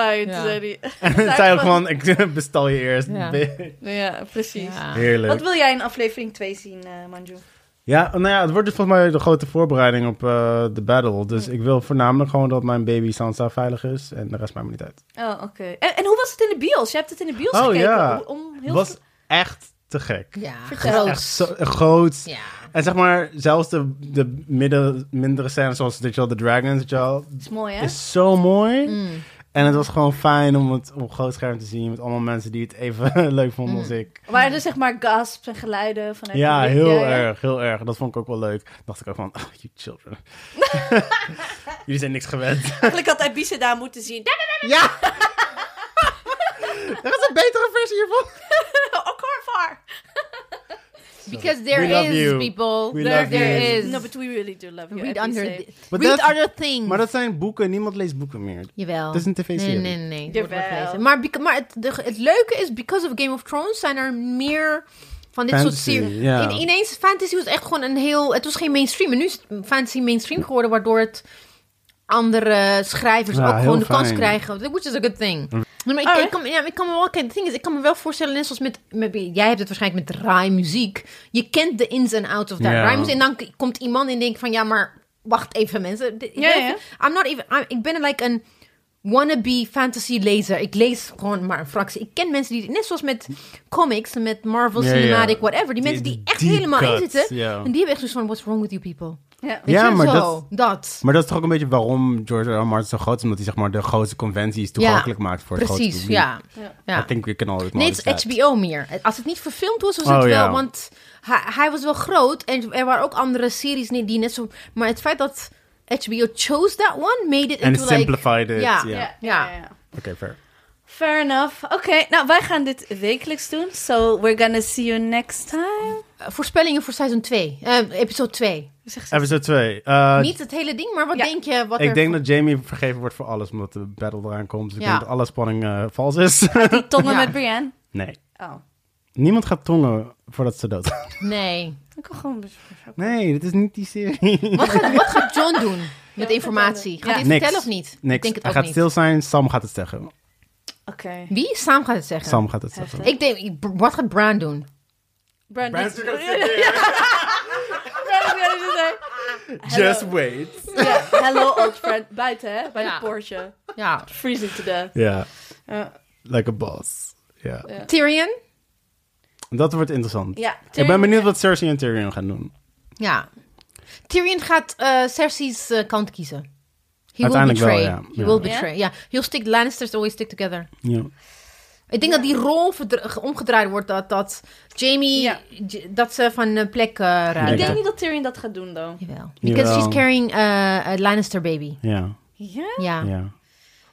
A: Toen
B: Ja.
A: zei hij.
D: *laughs* En zij ook gewoon, ik *laughs* bestel je eerst.
B: Ja.
D: bitch.
A: Ja, precies.
B: Ja.
D: Heerlijk.
A: Wat wil jij in aflevering 2 zien, eh Manju?
D: Ja, nou ja, het wordt dus volgens mij de grote voorbereiding op eh, de battle. Dus ik wil voornamelijk gewoon dat mijn baby Sansa veilig is. En de rest maakt me niet uit.
A: Oh, oké. En, en hoe was het in de bios? Je hebt het in de bios
D: Oh,
A: gekeken.
D: ja.
A: Om, om heel
D: was echt te gek.
B: Ja,
A: Vertel.
B: groot.
D: Echt zo, groot.
B: Ja.
D: En zeg maar, zelfs de, de midden, mindere scènes zoals weet je wel, de Dragons, weet je wel,
A: is mooi, hè?
D: is zo mooi.
B: Mm.
D: En het was gewoon fijn om het op groot scherm te zien met allemaal mensen die het even *laughs* leuk vonden als ik.
A: Waren er zeg maar gasps en geluiden vanuit
D: Ja,
A: de
D: heel
A: Ja, ja.
D: erg, heel erg. Dat vond ik ook wel leuk. Dacht ik ook van, oh, you children. Jullie zijn niks gewend.
A: Eigenlijk had Ibiza daar moeten zien.
D: ja! Er is een betere versie hiervan.
A: *laughs* Ook hoor var.
B: Because
D: We
B: there
D: love
B: is,
D: you.
B: people.
D: We
B: there
D: love
B: there
D: you.
B: is.
A: No, but we really do love you.
B: Read
A: Ibiza.
B: under... thi-
D: But
B: Read
D: that's-
B: other things.
D: *laughs* Maar dat zijn boeken. Niemand leest boeken meer.
B: Jawel.
D: Het is een
B: Nee,
D: tv-serie.
B: nee, nee. nee. Het wordt
A: Jawel.
B: wel gelezen. Maar, beca- maar het, de- het leuke is, because of Game of Thrones zijn er meer Van dit
D: Fantasy,
B: soort series.
D: ja.
B: In- ineens, fantasy was echt gewoon een heel... Het was geen mainstream. En nu is het fantasy mainstream geworden, waardoor het andere schrijvers
D: Ja,
B: ook
D: heel
B: gewoon de kans
D: fijn. Mm.
B: krijgen. Which is a good thing. Nee, Maar ik,
A: Alright.
B: ik, kan, me- ja, ik kan me wel kijk, the thing is, ik kan me wel voorstellen, net zoals met, met- jij hebt het waarschijnlijk met raai muziek. Je kent de ins en outs of dat
D: Ja.
B: raai muziek. En dan k- komt iemand en denkt van ja, maar wacht even mensen. Dit-
A: Ja,
B: dit-
A: ja.
B: I'm not even. I'm- ik ben like een wannabe fantasy lezer. Ik lees gewoon maar een fractie. Ik ken mensen die net zoals met comics, met Marvel
D: Ja, ja.
B: Cinematic, whatever. Die
D: Die-
B: mensen die
D: die
B: echt
D: deep
B: helemaal in
D: cuts,
B: zitten.
D: ja.
B: En die hebben echt zoiets van what's wrong with you people.
A: Ja.
D: Ja,
B: Zo,
D: maar dat-
B: dat.
D: Maar dat is toch ook een beetje waarom George R. R. Martin zo groot is. Omdat hij zeg maar de grootste conventies toegankelijk maakt voor het grote
B: Precies,
D: publiek.
B: ja.
A: Ja.
B: ja.
D: I think we can all acknowledge
B: Nee, het
D: that.
B: is HBO meer. Als het niet verfilmd was, was
D: Oh,
B: het wel.
D: ja.
B: Want hij, hij was wel groot. En er waren ook andere series nee, die net zo... Maar het feit dat HBO chose that one, made it
D: En
B: into like...
D: simplified it.
B: Ja.
D: Ja.
A: Ja,
D: Oké,
A: ja, ja, ja.
D: fair.
A: Fair enough. Oké, nou wij gaan dit wekelijks doen. So we're gonna see you next time.
B: Eh, Voorspellingen voor seizoen 2. episode 2.
A: Zeg ze-
D: Episode 2. Eh,
B: niet het hele ding, maar wat
A: Ja.
B: denk je? Wat
D: ik
B: er
D: denk dat Jamie vergeven wordt voor alles, omdat de battle eraan komt. Dus ik
B: Ja.
D: denk dat alle spanning eh, vals is. *laughs*
A: Die tongen
B: Ja.
A: met Brienne.
D: nee.
A: Oh,
D: Niemand gaat tongen voordat ze dood gaat.
B: Nee.
A: ik kan gewoon...
D: *laughs* Nee, dit is niet die serie.
B: Wat gaat, wat gaat John doen met informatie? Gaat
A: Ja.
B: hij het
D: Niks.
B: vertellen of niet?
D: Niks.
B: Ik denk het
D: Hij
B: ook
D: gaat
B: niet.
D: stil zijn. Sam gaat het zeggen.
A: Oké.
B: Wie? Sam gaat het zeggen.
D: Sam gaat het zeggen.
B: Ik denk, wat gaat Bran doen?
A: Brandon.
D: Brandon's gonna
A: Hello.
D: wait.
A: Ja, hello old friend. Buiten, hè? Bij
B: Ja.
A: de poortje.
B: Ja.
A: Freezing to death.
D: Ja,
A: Ja,
D: like a boss. Ja.
A: ja.
B: Tyrion?
D: Dat wordt interessant.
A: Ja,
D: Ik ben
A: Tyrion-
D: benieuwd wat Cersei en Tyrion gaan doen.
B: Ja. Tyrion gaat eh Cersei's eh, kant kiezen. He
D: Uiteindelijk
B: will
D: wel,
B: betray.
D: ja.
B: He
D: Ja.
B: will betray. Ja. He'll stick. Lannisters always stick together.
D: Ja.
B: Ik denk dat die rol verdra- omgedraaid wordt dat, dat Jamie
A: Ja.
B: J- dat ze van eh, plek eh raakt.
A: Ik
D: Ja.
A: denk niet dat Tyrion dat gaat doen, dan.
B: Jawel. Because
D: Jawel.
B: she's carrying eh, a Lannister baby.
D: Ja.
A: Ja?
B: Ja.
D: ja.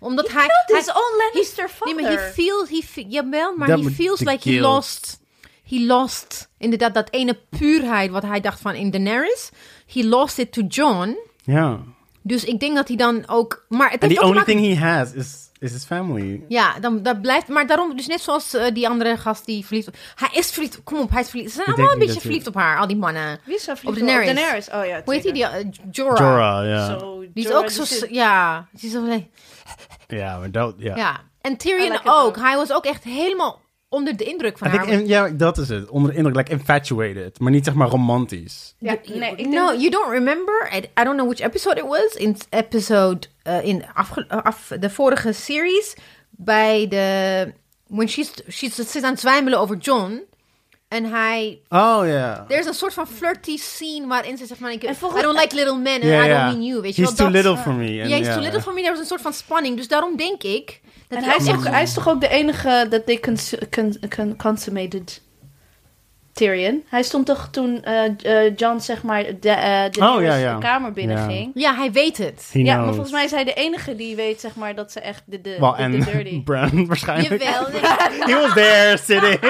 B: Omdat hij.
A: Dit
B: hij
A: is on Lannister
B: nee,
A: father.
B: maar he feels. He fe- jawel, maar
D: Dat
B: he
D: moet-
B: feels
D: de
B: like he
D: guilt.
B: lost. He lost. Inderdaad, dat ene puurheid wat hij dacht van in Daenerys. He lost it to Jon.
D: Ja.
B: Dus ik denk dat hij dan ook. Maar het
D: And
B: heeft
D: the
B: ook te
D: only
B: maken-
D: thing he has is, is his family.
B: Ja, dan, dat blijft. Maar daarom, dus net zoals eh, die andere gast die verliefd. Hij is verliefd. Kom op, hij is verliefd. Ze zijn
D: Ik
B: allemaal een
D: denk
B: beetje
D: niet dat
B: verliefd op haar, al die mannen.
A: Wie is zo verliefd
B: Op Daenerys.
A: op Daenerys? Oh ja,
B: Hoe heet die? die
A: zeker.
B: eh, Jorah.
D: Jorah, ja.
A: Zo,
B: Die is
A: Jorah, dus
B: ook zo.
A: die zit-
B: Ja, die is zo. Ja.
D: Ja, maar dat... Ja.
B: En
A: I
B: Tyrion
A: like it
B: ook.
A: though.
B: Hij was ook echt helemaal onder de indruk van
D: I think
B: haar.
D: in- ja, dat is het. Onder de indruk, like infatuated. Maar niet zeg maar romantisch.
A: Ja,
B: De-
A: nee, ik denk
B: no,
A: dat-
B: you don't remember. I, I don't know which episode it was. In episode eh, in afge- eh, af, de vorige series bij de when she's she's ze zit aan het zwijmelen over John en hij
D: Oh, ja.
B: er is een soort van flirty scene waarin ze zegt van ik
A: En
B: I
A: volgens-
B: don't like little men and
D: Ja,
B: I
D: ja.
B: don't mean you. Weet je
D: He's
B: wel,
D: too
B: dat-
D: little for me.
B: Ja,
D: and
B: he's
D: ja.
B: too little for me. Er was een soort van spanning. Dus daarom denk ik dat
A: En hij is,
B: ook
A: ook, hij is toch ook de enige dat they cons con- con- consummated Tyrion. Hij stond toch toen eh eh, Jon zeg maar de, eh, de,
D: Oh, ja, ja.
A: de kamer binnenging.
B: ja, hij weet het.
D: He
A: Ja, maar
D: knows.
A: volgens mij is hij de enige die weet zeg maar dat ze echt de, de,
D: Wel,
A: de, de
D: en *laughs*
A: dirty.
D: Bran waarschijnlijk. *laughs*
B: Jawel. *laughs* nee.
D: He was there sitting.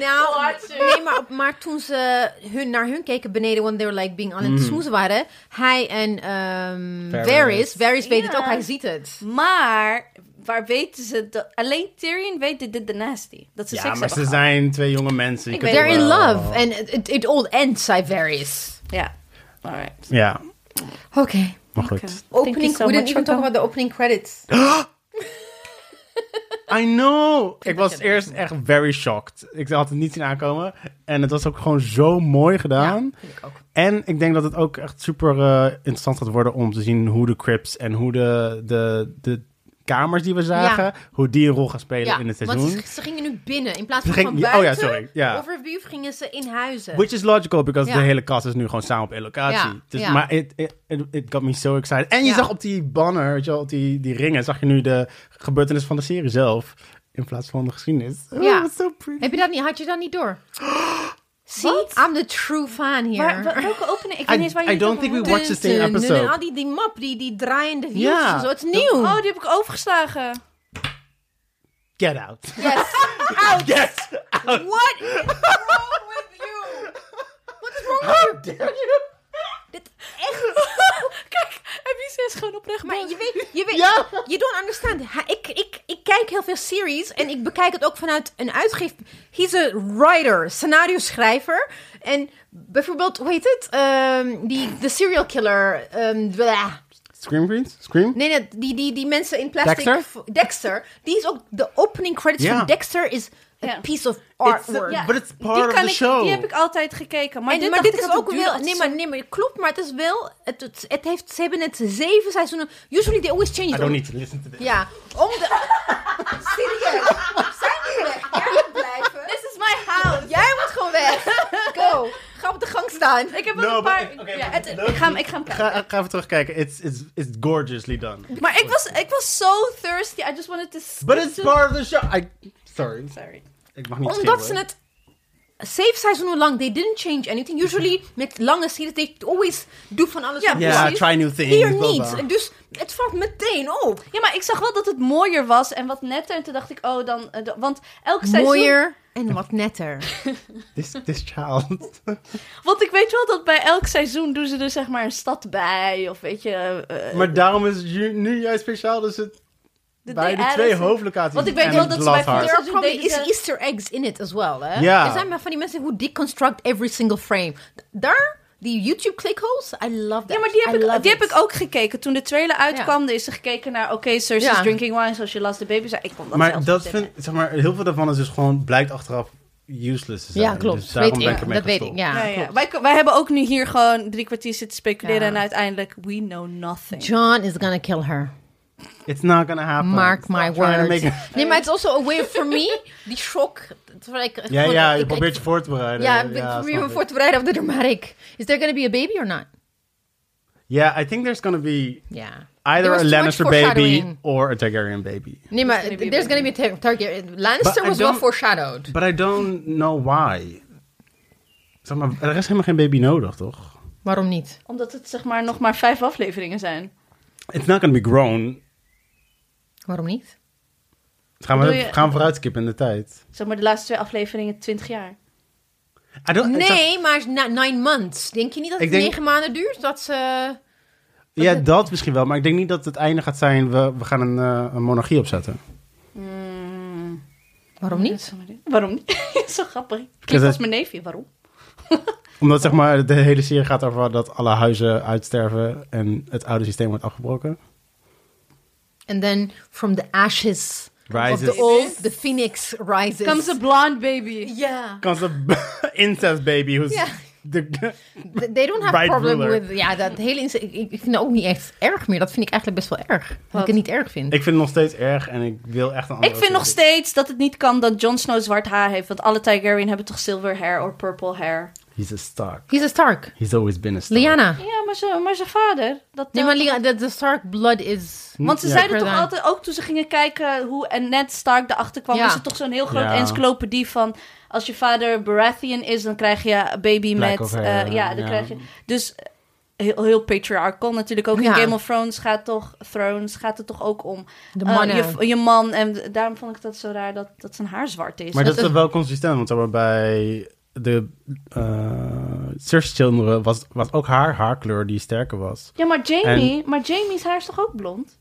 B: Nou, nee, maar, maar toen ze hun, naar hun keken beneden, want they were like being aan het smoezen waren, hij en ehm
D: Mm. Varys.
B: Varys, Varys weet het
A: Ja.
B: ook, hij ziet het.
A: Maar waar weten ze dat? Alleen Tyrion weet dit dit de nasty dat ze
D: Ja,
A: seks
D: maar
A: hebben
D: ze
A: gehad.
D: zijn twee jonge mensen. je
A: Ik
D: kunt
A: weet
B: They're in
D: wel-
B: love, and it, it, it all ends, zei Varys.
A: Ja, alright.
D: Ja,
B: Oké.
D: maar goed.
A: Oké. Thank you
B: Opening,
A: so
B: we
A: much
B: didn't
A: for
B: even talk
A: coming.
B: about the opening credits.
D: I know. Ik was
B: dat je
D: eerst echt very shocked. Ik had het niet zien aankomen. En het was ook gewoon zo mooi gedaan.
B: Ja, vind ik ook.
D: En ik denk dat het ook echt super eh, interessant gaat worden om te zien hoe de crypts en hoe de, de, de kamers die we zagen,
B: Ja.
D: hoe die een rol gaan spelen
B: Ja,
D: in het
B: want
D: seizoen.
B: ze, ze gingen nu binnen in plaats
D: Ze
B: van
D: ging-
B: van
D: ja, oh ja,
B: buiten.
D: sorry, ja.
B: Overview gingen ze in huizen.
D: Which is logical, because
B: Ja.
D: de hele cast is nu gewoon samen op één locatie.
B: Ja,
D: Dus,
B: ja.
D: Maar it, it, it, it got me so excited. En je
B: Ja.
D: zag op die banner, weet je wel, op die, die ringen, zag je nu de gebeurtenis van de serie zelf. In plaats van de geschiedenis. Oh,
B: Ja.
D: that's so pretty.
B: Heb je dat niet, had je dat niet
D: *gasps*
B: door? See, I'm the true fan here.
A: Maar wa- welke opening? Ik weet
D: I-
A: niet eens waar
D: I
A: je het
D: don't
A: over
D: think we
A: had.
D: watched the same
B: Dun, dun, dun.
D: episode.
B: Al die, die map, die, die draaiende wieltjes
D: Ja.
B: en zo. Het is nieuw.
A: Oh, die heb ik overgeslagen.
D: Get out.
B: yes. Out.
D: Yes!
B: *laughs* What is wrong with you? What's wrong with you? Dit echt.
A: *laughs* Kijk, en wie is gewoon oprecht
B: Maar
A: boos.
B: je weet, je weet,
D: Ja.
B: you don't understand. Ha- ik, ik, ik kijk heel veel series en ik bekijk het ook vanuit een uitgeef. He's a writer, scenario schrijver. En bijvoorbeeld, hoe heet het? Ehm, die, de serial killer. ehm, blah.
D: Scream Queens? Scream?
B: Nee, nee die, die, die mensen in plastic.
D: Dexter?
B: v- Dexter. Die is ook de opening credits
D: Ja.
B: van Dexter is a
A: Ja.
B: piece of
D: It's
B: artwork.
A: Ja.
D: But it's part
A: die
D: of
A: kan
D: the
A: ik,
D: show.
A: Die heb ik altijd gekeken. Maar
B: En
A: dit,
B: dit, maar
A: dacht
B: dit
A: ik
B: is
A: dat
B: ook
A: het duurde
B: wel. Nee,
A: zo-
B: maar, nee, maar klopt, maar het is wel. Het, het, het heeft, ze hebben het zeven seizoenen. Usually they always change it.
D: I don't need to listen to this.
B: Ja, om de. *laughs* Serieus, zijn we weg? Jij moet blijven.
A: This is my house.
B: Dus- Jij moet gewoon weg. *laughs* Go, ga op de gang staan.
A: Ik heb wel
D: No,
A: een paar...
D: but- oké,
A: ja,
D: but
A: het-
D: look-
A: ik, ga hem, ik ga hem kijken.
D: Ga, ga even terugkijken. It's, it's, it's gorgeously done.
A: Maar ik was, ik was zo thirsty. I just wanted to... skip
D: But it's
A: to-
D: part of the show. I, sorry.
A: Sorry.
D: Ik mag niet
B: Omdat ze
D: schreeuwen.
B: het. Zeven seizoenen lang, they didn't change anything. Usually met lange series, they always doen van alles.
A: Ja,
B: wat
D: Ja,
B: precies.
D: try new things.
B: Hier
D: blah,
B: niet.
D: blah.
B: Dus het valt meteen op.
A: Ja, maar ik zag wel dat het mooier was en wat netter. En toen dacht ik, oh, dan... eh, dan- want elk seizoen...
B: Mooier en wat netter.
D: This, this child.
A: Want ik weet wel dat bij elk seizoen doen ze er zeg maar een stad bij. Of weet je... eh,
D: *laughs* maar daarom is het ju- nu juist speciaal. Dus het
A: de
D: bij de
A: DR's
D: twee
A: en-
D: hoofdlocaties.
A: Want ik weet
D: en
A: wel
D: het
A: dat ze bij
D: Bloodstar.
B: There are
A: Dus
B: probably
A: deze-
B: is Easter eggs in it as well, hè?
D: Ja.
B: Er zijn maar van die mensen who deconstruct every single frame. Daar, die YouTube clickholes, I love that.
A: Ja, maar die heb,
B: I love
A: ik, die
B: it.
A: heb ik ook gekeken. Toen de trailer uitkwam, er is er gekeken naar... Oké, Cersei's
B: Ja.
A: drinking wine zoals je last the baby zei. Ik kon dat
D: Maar
A: zelfs
D: dat
A: niet hebben.
D: vind, zeg maar, heel veel daarvan is dus gewoon blijkt achteraf useless te zijn.
B: Ja, klopt.
D: Dus daarom
B: weet
D: ben
B: ik.
D: ik ermee
B: dat weet ik,
D: gestopt.
B: ja.
A: Ja, ja.
B: klopt.
A: Wij, wij hebben ook nu hier gewoon drie kwartier zitten speculeren
B: Ja.
A: en uiteindelijk we know nothing.
B: John is gonna kill her.
D: It's not gonna happen.
B: Mark
D: Stop
B: my
D: trying to
B: words.
D: make it-
B: *laughs* Nee, maar het is also a way for me, die shock. terwijl ik
D: Ja,
B: gewoon-
D: ja,
B: ik-
D: je
B: ik-
D: probeert je voor te bereiden.
B: Ja, ik probeer
D: snap
B: me
D: ik.
B: voor te bereiden op de dramatic. Is there gonna be a baby or not?
D: Yeah, I think there's gonna be
B: Ja. There
D: either
B: was
D: a
B: too much
D: Lannister baby
B: foreshadowing.
D: or a Targaryen baby.
B: Nee, maar
A: gonna be a
B: there's gonna be a target. Lannister
D: But I
B: was wel
D: don't-
B: foreshadowed.
D: But I don't know why. Zeg maar, er is helemaal geen baby nodig, toch?
B: Waarom niet?
A: Omdat het zeg maar nog maar vijf afleveringen zijn.
D: It's not gonna be grown.
B: Waarom niet?
D: Gaan we,
A: Bedoel je-
D: gaan we vooruit skippen in de tijd.
A: Zeg maar de laatste twee afleveringen twintig jaar.
D: I don't, ik zeg-
B: Nee, maar na, nine months. Denk je niet dat
D: Ik
B: het
D: denk-
B: negen maanden duurt? Dat ze...
D: ja, dat misschien wel. Maar ik denk niet dat het einde gaat zijn, we, we gaan een, eh, een monarchie opzetten.
B: Waarom niet?
A: Waarom niet? *laughs* Zo grappig.
D: Because
A: Klinkt als
D: it's-
A: mijn neefje, waarom?
D: Omdat zeg maar, de hele serie gaat over dat alle huizen uitsterven en het oude systeem wordt afgebroken.
B: And then from the ashes
D: Rises.
B: of the old, the phoenix rises.
A: Comes a blonde baby.
B: Yeah.
D: Kans op *laughs* incest baby. Who's
B: Ja.
D: de-
B: Th- They don't have
D: Right
B: problem
D: ruler.
B: with... Ja, dat hele... inse- Ik, ik vind dat ook niet echt erg meer. Dat vind ik eigenlijk best wel erg. Dat
A: Wat?
B: ik het niet erg vind.
D: *laughs* ik vind het nog steeds erg en ik wil echt een andere
A: Ik vind nog
D: serie.
A: steeds dat het niet kan dat Jon Snow zwart haar heeft. Want alle Targaryen hebben toch silver hair of purple hair.
D: He's a Stark.
B: He's a Stark.
D: He's always been a Stark.
B: Lyanna.
A: Ja, maar, ze, maar zijn vader. Dat
B: Nee, maar Lyanna, the, the Stark blood is...
A: Want ze
D: Ja.
A: zeiden toch
B: Verdaan.
A: altijd, ook toen ze gingen kijken hoe en Ned Stark erachter kwam,
B: Ja.
A: was het toch zo'n heel groot
D: Ja.
A: encyclopedie van als je vader Baratheon is, dan krijg je een baby
D: Black
A: met.
D: of hair,
A: eh, ja, dan
D: ja.
A: krijg je. Dus eh, heel, heel patriarchal natuurlijk ook. In
B: Ja.
A: Game of Thrones gaat toch Thrones gaat het toch ook om
B: De
A: eh,
B: mannen.
A: je, je man en daarom vond ik dat zo raar dat, dat zijn haar zwart is. Dat-
D: Maar dat is toch wel consistent, want zeg maar, bij de eh Cersei Children was, was ook haar haarkleur die sterker was.
A: ja, maar Jamie, maar Jamie's haar is toch ook blond?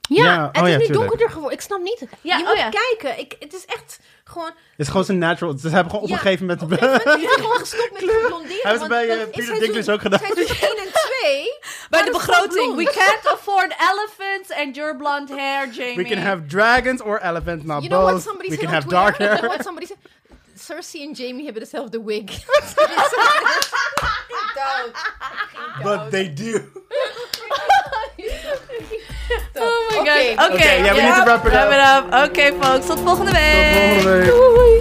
B: Ja,
D: Ja,
B: het
D: oh
B: is
D: ja,
B: nu
D: tuurlijk.
B: donkerder geworden. Ik snap niet.
A: Ja,
B: je
A: oh
B: moet
A: ja.
B: kijken. Ik, het is echt gewoon...
D: Het is gewoon zijn natural. Ze hebben gewoon
B: Ja. Oh,
D: opgegeven met...
B: Ik vind het echt gewoon gestopt met blonderen.
D: Hebben ze
B: want
D: bij, eh,
B: dan is
D: Peter
B: seizoen-
D: Dinklage ook gedaan.
B: Seizoen 1 en 2. *laughs*
A: Bij de begroting, we can't afford elephants and your blonde hair, Jamie.
D: *laughs* We can have dragons or elephants, not
B: You know what
D: both.
B: somebody
D: We
B: said
D: can
B: on
D: have
B: Twitter?
D: dark
B: You know
D: hair.
B: what somebody said? Cersei en Jamie hebben dezelfde
D: *laughs*
B: wig.
D: But they do.
A: Oh my
B: Oké.
A: god. Oké, Oh
D: Oké, ja, we need to wrap it up.
A: Oké, folks. Tot volgende week.
D: *laughs* Tot volgende week.
A: Doei.